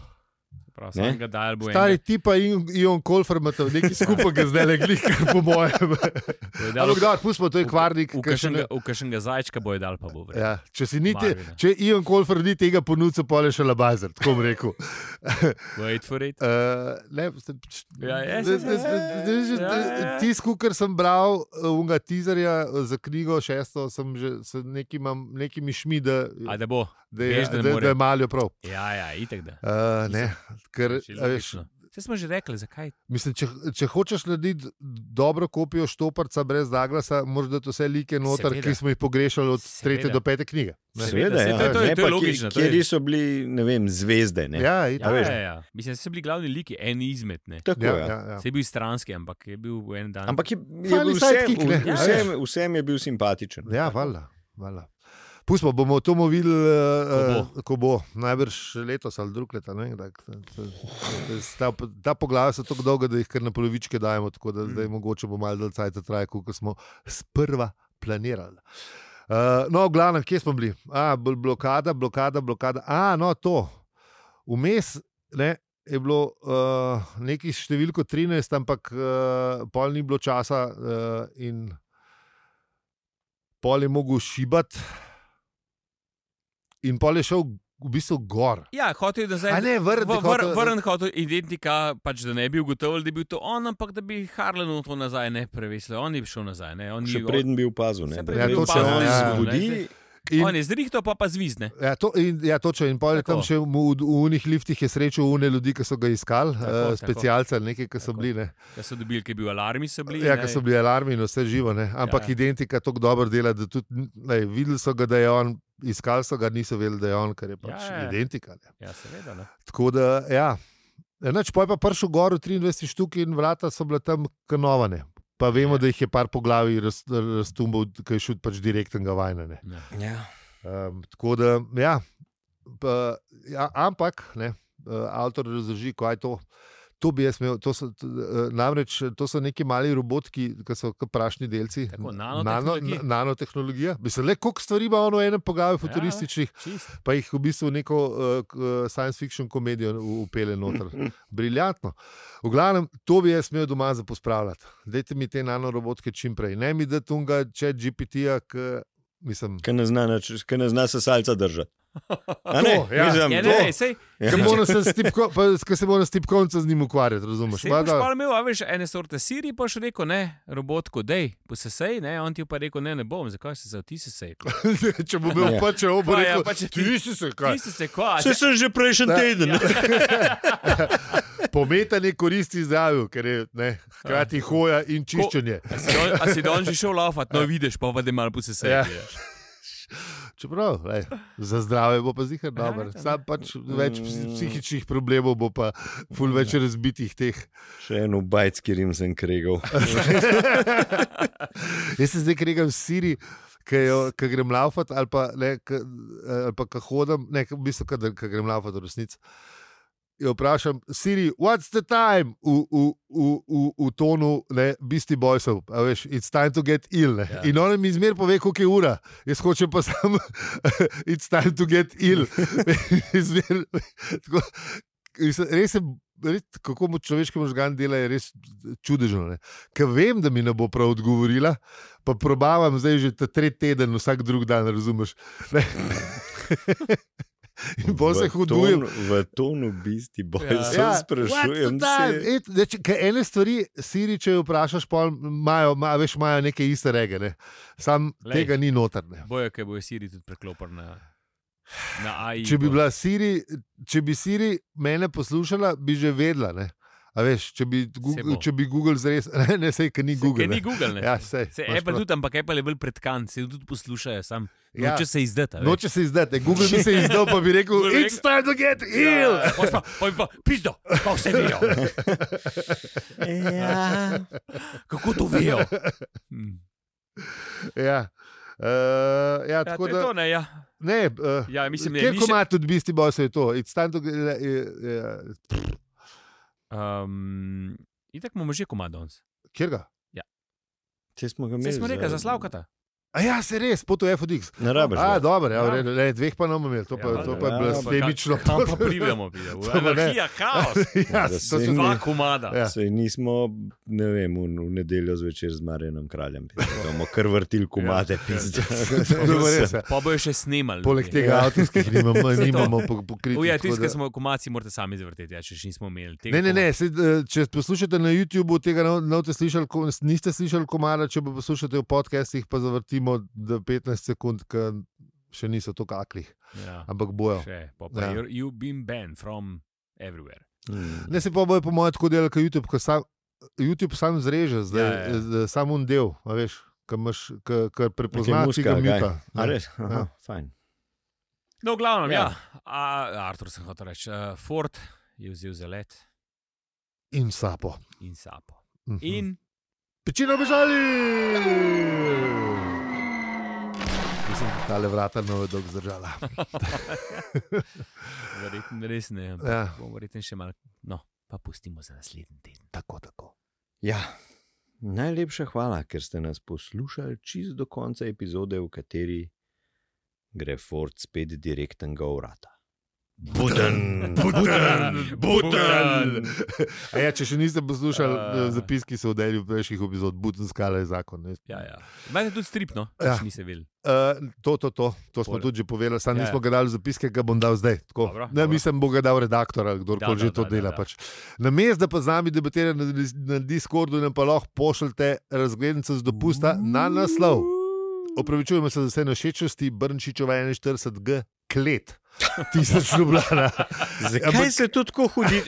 [SPEAKER 2] Prav,
[SPEAKER 4] Ne?
[SPEAKER 2] sam ga dajal bo
[SPEAKER 1] Stari
[SPEAKER 2] enega.
[SPEAKER 1] ti pa in Ion Kolfermata, neki skupaj ga zdaj le glika, po mojem.
[SPEAKER 2] Bo je dal
[SPEAKER 1] Ampak da, pustimo, to je kvarnik.
[SPEAKER 2] Ja, V
[SPEAKER 1] ki še ne-
[SPEAKER 2] kašnega- v kašnega zajčka bo je dal, pa bo vredno.
[SPEAKER 1] Ja, če si ni, te,
[SPEAKER 2] Marvina.
[SPEAKER 1] če Ion Kolfer ni tega ponudil, pa je še labazer, tako bom rekel. Ja.
[SPEAKER 2] Wait for it.
[SPEAKER 1] Uh, ne, se-
[SPEAKER 2] Ja, je,
[SPEAKER 1] da-
[SPEAKER 2] se-
[SPEAKER 1] da- da- da- že-
[SPEAKER 2] ja, ja.
[SPEAKER 1] Tisk, ki sem bral, eh, unga tizerja za knjigo šesto, sem že se nekaj, imam, nekaj mi šmi, da,
[SPEAKER 2] A da bo.
[SPEAKER 1] da, je,
[SPEAKER 2] veš, da ne
[SPEAKER 1] da,
[SPEAKER 2] more.
[SPEAKER 1] da je malo prav.
[SPEAKER 2] Ja, ja, itek da.
[SPEAKER 1] Uh, ne, ker,
[SPEAKER 2] Če
[SPEAKER 1] a veš,
[SPEAKER 2] logično. Vse smo že rekli, zakaj.
[SPEAKER 1] Mislim, če, če hočeš narediti dobro kopijo štoparca brez Daglasa, moraš dati vse like noter, Seveda.
[SPEAKER 2] Seveda.
[SPEAKER 1] ki smo jih pogrešali od
[SPEAKER 2] Seveda.
[SPEAKER 1] tretje do pete knjige. Ne.
[SPEAKER 4] Seveda,
[SPEAKER 2] saj
[SPEAKER 4] ja.
[SPEAKER 2] to je- to je-
[SPEAKER 4] Ne
[SPEAKER 2] to je
[SPEAKER 4] pa, kje-
[SPEAKER 2] logično, to je-
[SPEAKER 4] Kjer so bili, ne vem, zvezde. Ne?
[SPEAKER 1] Ja,
[SPEAKER 2] Ja,
[SPEAKER 1] itak.
[SPEAKER 2] ja, ja. Mislim, da so bili glavni liki, en izmed. Ne.
[SPEAKER 4] Tako,
[SPEAKER 1] ja,
[SPEAKER 4] ja.
[SPEAKER 1] ja, ja.
[SPEAKER 2] Se je bil stranski, ampak je bil v en dan.
[SPEAKER 4] Ampak je, je
[SPEAKER 1] Fali
[SPEAKER 4] bil vsem,
[SPEAKER 1] sidekick, ne.
[SPEAKER 4] v- vsem, vsem je bil simpatičen.
[SPEAKER 1] Ja, valjda. valjda. Pustimo, bomo to videli, ko,
[SPEAKER 2] Ko
[SPEAKER 1] bo. ko bo. Najbrž letos ali drug leta. Ne, vem, kdaj. ta, ta poglavja so tako dolga, da jih kar na polovičke dajemo, tako da zdaj mogoče bo malo dlje časa trajalo, kot smo sprva planirali. Uh, no, v glavnem, kje smo bili? A, bl- blokada, blokada, blokada. A, no, to. Vmes ne, je bilo uh, nekaj s številko 13, ampak uh, pol ni bilo časa uh, in pol je mogel šibati, in pol je šel v bistvu gor.
[SPEAKER 2] Ja, hotel je, da
[SPEAKER 1] A
[SPEAKER 2] zdaj.
[SPEAKER 1] ne, vrn,
[SPEAKER 2] v- vr- Vrn hotel identika, pač, da ne bi ugotovili, da je bil to on, ampak da bi Harlenu to nazaj ne prevesil. On je šel nazaj. Ne. On,
[SPEAKER 4] Še
[SPEAKER 2] ni,
[SPEAKER 4] preden bi opazil, ne,
[SPEAKER 2] Saj
[SPEAKER 4] da
[SPEAKER 2] preden
[SPEAKER 1] bi
[SPEAKER 4] to se
[SPEAKER 1] opazil,
[SPEAKER 4] on
[SPEAKER 1] ja.
[SPEAKER 4] zbudi.
[SPEAKER 2] on,
[SPEAKER 1] in,
[SPEAKER 2] on je zrihto, pa pa zvizne.
[SPEAKER 1] ja, to, in, ja, točno. In pol je
[SPEAKER 2] Tako.
[SPEAKER 1] tam še mu v, v unih liftih je srečal une ljudi, ki so ga iskali,
[SPEAKER 2] Tako,
[SPEAKER 1] uh,
[SPEAKER 2] tako.
[SPEAKER 1] specialce, nekaj, ki so
[SPEAKER 2] Tako.
[SPEAKER 1] bili. Ne.
[SPEAKER 2] Da so dobili, ki je bil alarmi, so bili.
[SPEAKER 1] Ja,
[SPEAKER 2] ne.
[SPEAKER 1] ker so bili alarmi in vse živo, ne? ampak ja,
[SPEAKER 2] Ja, ja.
[SPEAKER 1] ja. identika tako dobro dela, da tudi ne, videli so ga, da je on, iskali so ga, niso vedeli, da je on, ker je pač
[SPEAKER 2] Ja, ja.
[SPEAKER 1] ja, identika. Ne?
[SPEAKER 2] Ja, seveda. Ne.
[SPEAKER 1] Tako da, ja. Enač, poj pa prišel gor v 23 štuk in vrata so bila tam kanovane. Pa
[SPEAKER 2] Ja.
[SPEAKER 1] vemo, da jih je par po glavi raz- raztumbal, ker je šel pač direktnega vajna.
[SPEAKER 2] Ja.
[SPEAKER 4] Ja.
[SPEAKER 1] Um, tako da, ja. Pa, ja ampak, ne, eh, avtor razloži, kaj je to. To bi jaz imel, to so, t- eh, namreč to so neki mali robotki, ki so kot prašni delci.
[SPEAKER 2] Tako,
[SPEAKER 1] Nano,
[SPEAKER 2] nanotehnologija.
[SPEAKER 1] na- nanotehnologija. Mislim, le koliko stvari ima ono v enem poglavju futurističnih,
[SPEAKER 2] Čisto.
[SPEAKER 1] pa jih v bistvu v neko uh, k- uh, science fiction komedijo u- upele noter. Briljantno. V glavnem, to bi jaz imel doma za pospravljati. Dajte mi te nanorobotke čim prej. Ne mi da tunga, če GPT-ja, k- mislim.
[SPEAKER 4] Ker ne zna, nič- ke ne zna se salca držati. A Ne,
[SPEAKER 1] To, ja.
[SPEAKER 4] Mislim,
[SPEAKER 2] Ja, ne,
[SPEAKER 4] to.
[SPEAKER 2] ne, sej,
[SPEAKER 1] Ker moram se s tipko- pa- ker se moram s tipkovnico z njim ukvarjati, razumeš?
[SPEAKER 2] Sej
[SPEAKER 1] Ma
[SPEAKER 2] boš
[SPEAKER 1] da-
[SPEAKER 2] pa imel, a veš, ene sorte siri, pa še rekel, ne, robotko, dej, posesej, ne, on ti je pa rekel, ne, ne bom, zakaj si se, ti si se.
[SPEAKER 1] če bo bil
[SPEAKER 4] Ja.
[SPEAKER 1] pa če obo
[SPEAKER 2] Pa ja,
[SPEAKER 1] rekel,
[SPEAKER 2] pa če ti-
[SPEAKER 1] ti si se kaj.
[SPEAKER 2] Ti si se, kva,
[SPEAKER 4] Saj sem že prejšnji
[SPEAKER 1] Da. ja.
[SPEAKER 4] teden.
[SPEAKER 1] Pometanje koristi zdravju, ker je ne, hkrati hoja in čiščenje.
[SPEAKER 2] A si don- A si don že šel laufat, no vidiš, pa pa da je malo posesej.
[SPEAKER 1] Ja.
[SPEAKER 2] je.
[SPEAKER 1] Čeprav, lej, za zdravje bo pa zihar dober.
[SPEAKER 2] Ja, to Mm. ne.
[SPEAKER 1] Sam pač več psi- psihičnih problemov bo pa ful več razbitih teh.
[SPEAKER 4] Še en bajc, kjer sem kregal.
[SPEAKER 1] Jaz se zdaj kregam v Siri. Ki grem laufat, ali pa, ne, ke, eh, ali pa ko hodim, ne, ke v bistvu, kadar ke grem laufat, v resnici. Jo vprašam, Siri, what's the time v, v, v, v, v tonu, ne, bisti bojsov, a veš, it's time to get ill.
[SPEAKER 2] Ja.
[SPEAKER 1] Ja. In on mi izmer pove, koliko je ura, jaz hočem pa sam, it's time to get ill. izmer, tako, mislim, res je, res, kako mu človeški možgan dela, je res čudežno. ne. Ker vem, da mi ne bo prav odgovorila, pa probavam zdaj že ta tretji teden, vsak drug dan, razumeš. Ne? In bolj se
[SPEAKER 4] V
[SPEAKER 1] hudujem.
[SPEAKER 4] tonu- V tonu bisti bojc.
[SPEAKER 1] Ja.
[SPEAKER 4] Ja. Sprašujem se.
[SPEAKER 1] Et, da, če, kaj ene stvari, Siri, če jo vprašaš, pol imajo, ma, veš, imajo neke iste rege, ne? sam
[SPEAKER 2] Glej.
[SPEAKER 1] Lej. tega ni notrne.
[SPEAKER 2] Bojo, kaj bojo siri tudi preklopili na, na AI.
[SPEAKER 1] Če bi,
[SPEAKER 2] bo.
[SPEAKER 1] bila Siri, če bi Siri mene poslušala, bi že vedela. Ne? A veš, če bi
[SPEAKER 2] bo.
[SPEAKER 1] Google, če bi Google zres, ne, ne sej, ker ni
[SPEAKER 2] Saj,
[SPEAKER 1] Google.
[SPEAKER 2] ker Ni Google, ne.
[SPEAKER 1] Ja, sej,
[SPEAKER 2] Se
[SPEAKER 1] imaš
[SPEAKER 2] Apple
[SPEAKER 1] prav.
[SPEAKER 2] tudi, ampak Apple je bolj pretkan, se tudi poslušajo, sam.
[SPEAKER 1] Ja.
[SPEAKER 2] Noče se izdati. a veš.
[SPEAKER 1] Noče se izdati, Google bi se izdal, pa bi rekel:
[SPEAKER 2] Bi rekel-
[SPEAKER 1] It's time to get ill!
[SPEAKER 2] Ja, pol pa- pol pa, Pizdo, pa vse vejo.
[SPEAKER 4] Ja.
[SPEAKER 2] Kako to vejo? Hm.
[SPEAKER 1] Hmm. Ja. Uh, ja,
[SPEAKER 2] Ja,
[SPEAKER 1] tako
[SPEAKER 2] to
[SPEAKER 1] da,
[SPEAKER 2] je to, ne, ja.
[SPEAKER 1] ne, uh,
[SPEAKER 2] Ja, mislim, da je
[SPEAKER 1] Kjer
[SPEAKER 2] ni še-
[SPEAKER 1] ima tudi bisti boj, se je to. It's time to get, uh, uh,
[SPEAKER 2] Um, Itak imamo že komad danes.
[SPEAKER 1] kjer ga?
[SPEAKER 4] Če smo ga
[SPEAKER 2] Vse
[SPEAKER 4] imeli.
[SPEAKER 2] smo rekli, zaslavkata.
[SPEAKER 1] A ja, se res, po to FODX.
[SPEAKER 4] Ne rabiš.
[SPEAKER 1] A,
[SPEAKER 4] ga.
[SPEAKER 1] dobro, ja,
[SPEAKER 2] Ja.
[SPEAKER 1] v redu, ne, dveh pa nam imeli, to pa,
[SPEAKER 2] Ja,
[SPEAKER 1] to pa
[SPEAKER 4] ja,
[SPEAKER 1] je blasfemično.
[SPEAKER 2] Kam pa pridemo, pridemo.
[SPEAKER 1] To pa ne.
[SPEAKER 2] Anarhija, kaos.
[SPEAKER 1] ja, to so
[SPEAKER 4] Zasebni-
[SPEAKER 2] Dva komada.
[SPEAKER 1] Ja.
[SPEAKER 4] Sej nismo, ne vem, v, v nedeljo zvečer z Marjenom kraljem, bomo kar vrtili komade. pizda.
[SPEAKER 1] dobro, Ja. res. ja.
[SPEAKER 2] Pa bojo še snimali.
[SPEAKER 1] Poleg
[SPEAKER 2] ljudje.
[SPEAKER 1] tega avtorskih nimamo,
[SPEAKER 2] Ja. to.
[SPEAKER 1] nimamo po- pokritih.
[SPEAKER 2] O, ja,
[SPEAKER 1] tako
[SPEAKER 2] tisti,
[SPEAKER 1] da-
[SPEAKER 2] ki smo komaci, morate sami zavrteti, ja, če še nismo imeli tega.
[SPEAKER 1] Ne, ne, ne, se, če poslušate na YouTubu, tega ne, ne boste slišali, ko- niste slišali komada, če pa poslušate v podcestih, pa zavrtimo da 15 sekund, ker še niso to kaklih,
[SPEAKER 2] komada. Ja.
[SPEAKER 1] ampak bojo.
[SPEAKER 2] Še, pa, pa,
[SPEAKER 1] Ja.
[SPEAKER 2] you're, you've been banned from everywhere.
[SPEAKER 4] Mm.
[SPEAKER 1] Ne se pa boje, po mojem, tako delal kot YouTube, ker sam, YouTube sam zreže, zdaj,
[SPEAKER 2] Ja, ja.
[SPEAKER 1] ja, ja. samo un del, a veš, ki prepozna,
[SPEAKER 4] Nekaj
[SPEAKER 1] ki ga
[SPEAKER 4] muska, kaj?
[SPEAKER 1] mika.
[SPEAKER 4] A res?
[SPEAKER 1] Ja.
[SPEAKER 4] Aha, fajn.
[SPEAKER 2] No, v glavnem, ja.
[SPEAKER 4] Ja.
[SPEAKER 2] ja. A, Artur sem hotel reči, uh, Ford je vzel zelet
[SPEAKER 1] In sapo.
[SPEAKER 2] in sapo.
[SPEAKER 1] Mhm.
[SPEAKER 2] In
[SPEAKER 1] Pečino bežali! Mislim, da ta le vrata ne bo dolgo zdržala.
[SPEAKER 2] verjetno res ne. ampak
[SPEAKER 1] Ja,
[SPEAKER 2] Bomo verjetno še malo. No, pa pustimo za naslednji teden.
[SPEAKER 1] tako, tako.
[SPEAKER 4] Ja. Najlepša hvala, ker ste nas poslušali čist do konca epizode, v kateri gre Ford spet direktnega urada. Buten, buten, buten.
[SPEAKER 1] A ja, če še niste poslušali
[SPEAKER 2] Ja.
[SPEAKER 1] uh. zapiski, so v delju prejšnjih epizod, Buten skala je zakon. ne.
[SPEAKER 2] Ja, ja. Imate tudi stripno,
[SPEAKER 1] Ja.
[SPEAKER 2] ja. nisi vedel.
[SPEAKER 1] Uh, to, to, to, to smo
[SPEAKER 2] Bolje.
[SPEAKER 1] tudi že povedali, sam
[SPEAKER 2] Ja, ja.
[SPEAKER 1] nismo ga dali v zapiske, ga bom dal zdaj. tako.
[SPEAKER 2] Dobro,
[SPEAKER 1] Ne,
[SPEAKER 2] dobro.
[SPEAKER 1] mislim, bo ga dal redaktor ali
[SPEAKER 2] Da,
[SPEAKER 1] kdorkoli
[SPEAKER 2] da,
[SPEAKER 1] že to
[SPEAKER 2] da, da,
[SPEAKER 1] dela.
[SPEAKER 2] da.
[SPEAKER 1] Pač. Na mestu, da pa z nami debatirate na, na Discordu, nam pa lahko pošljete razglednice z dopusta na naslov. Opravičujemo se za vse našečnosti, Brnčičeva 41G, klet, tisoč ljubljena.
[SPEAKER 4] Zakaj se tu tako hudi?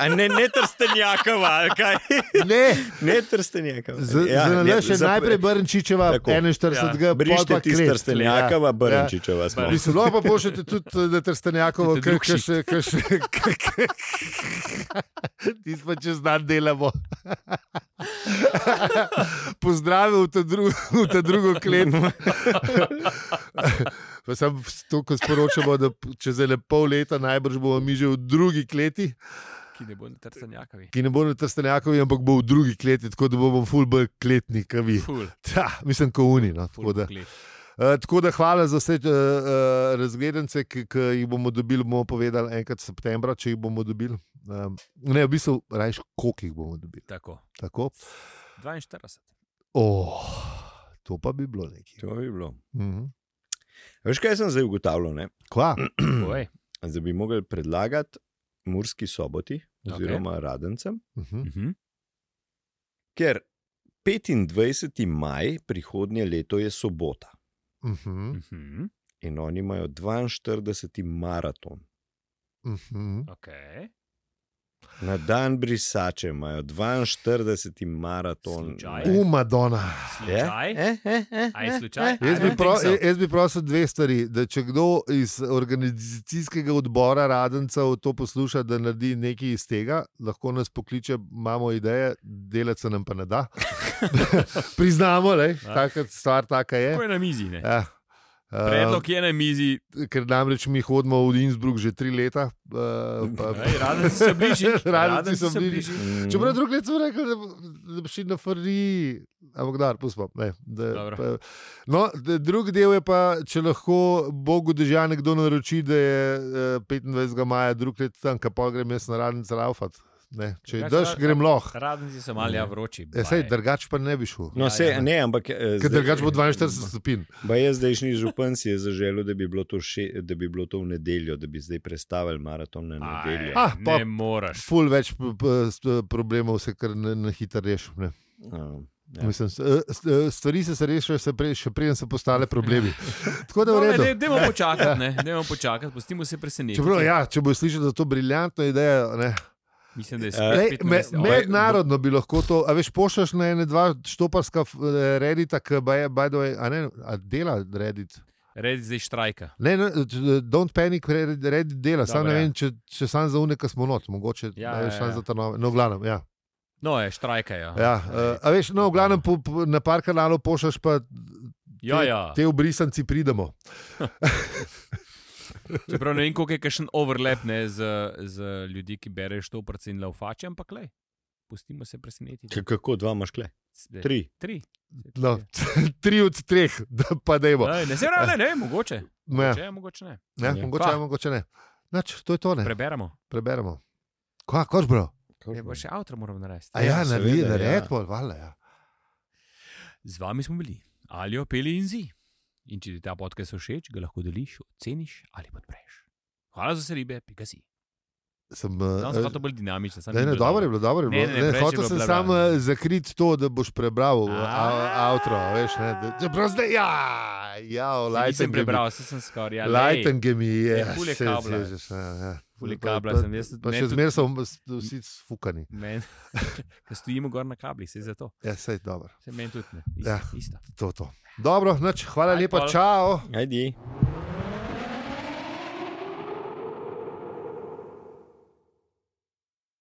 [SPEAKER 4] A ne, ne trstenjakava, ali kaj?
[SPEAKER 1] Ne,
[SPEAKER 4] Ne Ja, trstenjakava.
[SPEAKER 2] Ja,
[SPEAKER 1] zanalaš še
[SPEAKER 4] za-
[SPEAKER 1] najprej Brnčičeva
[SPEAKER 4] Tako.
[SPEAKER 1] 41G,
[SPEAKER 4] Brište
[SPEAKER 1] pol pa
[SPEAKER 4] tisti
[SPEAKER 1] klet.
[SPEAKER 4] trstenjakava,
[SPEAKER 1] Ja, ja.
[SPEAKER 4] Brnčičeva smo.
[SPEAKER 1] Mislim, lahko pa pošljete tudi na Trstenjakovo,
[SPEAKER 2] Tudi
[SPEAKER 1] ki
[SPEAKER 2] drug
[SPEAKER 1] še še. kar še- kar- kar- Tisto pa čez dan delamo. Pozdravil v ta, dru v ta drugo klet. Pa sam to, ko sporočamo, da p- čez ene pol leta najbrž bomo mi že v drugi kleti,
[SPEAKER 2] Ki ne bo na trcanjakavi.
[SPEAKER 1] ki ne bo na Trstenjakovi, ampak bo v drugi kleti, tako da bomo full bolj kletni, kot vi.
[SPEAKER 2] Ful,
[SPEAKER 1] Ta, mislim, kot oni. No, tako
[SPEAKER 2] ful,
[SPEAKER 1] da-
[SPEAKER 2] klet.
[SPEAKER 1] Eh, tako da hvala za vse uh, uh, razgledance, ki ki jih bomo dobili. Bomo povedali enkrat septembra, če jih bomo dobili. Um, ne, v bistvu, rajš, koliko jih bomo dobili.
[SPEAKER 2] Tako,
[SPEAKER 1] Tako?
[SPEAKER 2] 42.
[SPEAKER 1] Oh, to pa bi bilo nekaj.
[SPEAKER 4] To bi bilo.
[SPEAKER 1] Mhm.
[SPEAKER 4] Veš, kaj sem zdaj ugotavljal? Ne?
[SPEAKER 1] Kva?
[SPEAKER 2] Povej.
[SPEAKER 4] da bi mogli predlagati Murski soboti,
[SPEAKER 2] Ok.
[SPEAKER 4] oziroma okay. Radencem,
[SPEAKER 1] Mhm.
[SPEAKER 2] Mhm.
[SPEAKER 4] ker 25. maj prihodnje leto je sobota
[SPEAKER 1] Mhm.
[SPEAKER 2] Mhm.
[SPEAKER 4] in oni imajo 42. maraton.
[SPEAKER 1] Mhm.
[SPEAKER 2] Okay.
[SPEAKER 4] Na dan brisače imajo 42. maraton.
[SPEAKER 2] Slučaj.
[SPEAKER 4] ne.
[SPEAKER 1] U, Madonna.
[SPEAKER 2] Slučaj.
[SPEAKER 4] Eh, eh, eh,
[SPEAKER 2] A je
[SPEAKER 4] eh,
[SPEAKER 2] slučaj?
[SPEAKER 4] eh,
[SPEAKER 2] A
[SPEAKER 1] Jaz
[SPEAKER 2] I
[SPEAKER 1] bi,
[SPEAKER 2] don't
[SPEAKER 1] pro,
[SPEAKER 2] think so.
[SPEAKER 1] jaz bi prosil dve stvari. Da če kdo iz organizacijskega odbora Radencev to posluša, da naredi nekaj iz tega, lahko nas pokliče, imamo ideje, delati se nam pa ne da. Priznamo, da je
[SPEAKER 2] Ja.
[SPEAKER 1] stvar taka. Je.
[SPEAKER 2] Ko je na mizi. ne?
[SPEAKER 1] Ja. Eh,
[SPEAKER 2] Predlog je na mizi,
[SPEAKER 1] ker namreč mi hodimo v Innsbruck že tri leta. Uh, pa,
[SPEAKER 2] Ej, Radenci so bližje.
[SPEAKER 1] Radenci so
[SPEAKER 2] Radenci so
[SPEAKER 1] bližje.
[SPEAKER 2] bližje.
[SPEAKER 4] Mm.
[SPEAKER 1] Čeprav drugi let smo rekli, da bo- da bi šli na Ferrari, ampak da, pustimo. ne, da-
[SPEAKER 2] Dobro.
[SPEAKER 1] pa- No, d- drugi del je pa, če lahko Bogu dežja nekdo naroči, da je eh, 25. maja, drugi let tam, kapal grem jaz na raden celaufat. Če
[SPEAKER 2] Drugače
[SPEAKER 1] daš,
[SPEAKER 2] pa-
[SPEAKER 1] grem loh.
[SPEAKER 2] Radenci so malja vroči.
[SPEAKER 1] Ja, sej,
[SPEAKER 2] baj.
[SPEAKER 1] drugač pa ne bi šel.
[SPEAKER 2] Ja,
[SPEAKER 4] No, se, ne, ampak. eh,
[SPEAKER 1] Ker
[SPEAKER 4] zdaj-
[SPEAKER 1] drugač bo 42 stopinj.
[SPEAKER 4] Ba jaz zdajšnji župan si je zaželel, da bi bilo to, še, da bi bilo to v nedeljo, da bi zdaj prestavili maraton na
[SPEAKER 2] Aj,
[SPEAKER 4] nedeljo.
[SPEAKER 1] Ah, pa-
[SPEAKER 2] Ne moraš.
[SPEAKER 1] Ful več p- p- st- problemov se kar na, na hitro rešim. ne.
[SPEAKER 4] Ah, ja.
[SPEAKER 1] Mislim, s- eh, s- eh, Stvari so se rešile, še pre- še preden so postale problemi. Tako da v
[SPEAKER 2] No, ne,
[SPEAKER 1] redu. Ja.
[SPEAKER 2] ne, Dajmo počakati, ne, dajmo počakati, pustimo se presenetiti.
[SPEAKER 1] Čeprav, ja, če boš slišal za to briljantno idejo, ne.
[SPEAKER 2] Mislim, da je
[SPEAKER 4] Eh,
[SPEAKER 1] Ej,
[SPEAKER 2] spet
[SPEAKER 1] me,
[SPEAKER 2] 25.
[SPEAKER 1] mednarodno bi lahko to, a veš, pošlješ na ene dva štoparska f- eh, redita, ki baje, bajdo, a ne, a dela redit.
[SPEAKER 2] Redi zdaj štrajka.
[SPEAKER 1] Ne, ne, t- don't panic, redit, redit dela, sam
[SPEAKER 2] Dobro,
[SPEAKER 1] ne
[SPEAKER 2] ja.
[SPEAKER 1] vem, če, če sam za unika smo not, mogoče,
[SPEAKER 2] Ja,
[SPEAKER 1] ja, ne,
[SPEAKER 2] ja,
[SPEAKER 1] veš, sam
[SPEAKER 2] ja.
[SPEAKER 1] ja. za ta nove, no, v glavnem, ja.
[SPEAKER 2] No, je štrajka. Ja,
[SPEAKER 1] ja eh, a veš, no, v glavnem, po, po, na par kanalov pošlješ pa
[SPEAKER 2] ja, ja.
[SPEAKER 1] te obrisanci pridemo.
[SPEAKER 2] Čeprav ne vem, koliko je kakšen overlap ne, z, z ljudi, ki berejo to prsti in laufače, ampak le. Pustimo se presenetiti.
[SPEAKER 4] K- Kako dva imaš kle?
[SPEAKER 2] Zdaj,
[SPEAKER 4] Tri.
[SPEAKER 2] Tri.
[SPEAKER 1] No, tri od treh, da pa dejmo.
[SPEAKER 2] Ej, Ne, se ravno ne, mogoče.
[SPEAKER 1] Ja,
[SPEAKER 2] Če je, Eh, mogoče ne.
[SPEAKER 1] ja,
[SPEAKER 4] Ja.
[SPEAKER 1] mogoče,
[SPEAKER 2] Pa.
[SPEAKER 1] ja, mogoče ne. Nač, to je to, ne.
[SPEAKER 2] Preberemo.
[SPEAKER 1] preberemo. Kaj, koš bro?
[SPEAKER 2] Ne bo še avtor moram narediti.
[SPEAKER 1] Ja. A ja,
[SPEAKER 4] Ja,
[SPEAKER 1] ja naredi,
[SPEAKER 4] seveda,
[SPEAKER 1] da
[SPEAKER 4] ja.
[SPEAKER 1] red bolj, vale. Ja.
[SPEAKER 2] Z vami smo bili, ali opeli in zi. In če ti ta podcast všeč, ga lahko deliš, oceniš ali podpreš. Hvala za vse ribe, pika si.
[SPEAKER 1] Sem, eh,
[SPEAKER 2] Tam sem No, hotel bolj dinamičen. samo
[SPEAKER 1] Ne,
[SPEAKER 2] ni
[SPEAKER 1] ne,
[SPEAKER 2] bilo
[SPEAKER 1] dobro je bilo, dobro je
[SPEAKER 2] Ne,
[SPEAKER 1] bilo.
[SPEAKER 2] ne, ne, preveč je
[SPEAKER 1] hotel
[SPEAKER 2] bilo
[SPEAKER 1] sem
[SPEAKER 2] bla, bla,
[SPEAKER 1] samo
[SPEAKER 2] bla.
[SPEAKER 1] eh, zakriti to, da boš prebral a- a-
[SPEAKER 2] A.
[SPEAKER 1] avtro, a veš, ne, da- čeprav zdaj, ja, ja,
[SPEAKER 2] Saj Nisem
[SPEAKER 1] lajten gemi.
[SPEAKER 2] prebral, saj sem skoraj. ja, lej.
[SPEAKER 1] Lajten gemi,
[SPEAKER 2] Ja,
[SPEAKER 1] je,
[SPEAKER 2] ful je
[SPEAKER 1] se
[SPEAKER 2] kabla.
[SPEAKER 1] zježeš, ja, ja.
[SPEAKER 2] Fuli kabla
[SPEAKER 1] Pa-
[SPEAKER 2] sem jaz.
[SPEAKER 1] Pa
[SPEAKER 2] ne,
[SPEAKER 1] še
[SPEAKER 2] tudi
[SPEAKER 1] zmeraj so s- vsi sfukani.
[SPEAKER 2] Meni, ker stojimo gor na kablih, se zato.
[SPEAKER 1] Ja, sej dobro.
[SPEAKER 2] Se meni tudi ne.
[SPEAKER 1] Ja.
[SPEAKER 2] Isto. Ja. isto.
[SPEAKER 1] To, to. Dobro, nač, hvala
[SPEAKER 2] Aj,
[SPEAKER 1] lepa,
[SPEAKER 2] pol.
[SPEAKER 1] čau.
[SPEAKER 4] Ajdi.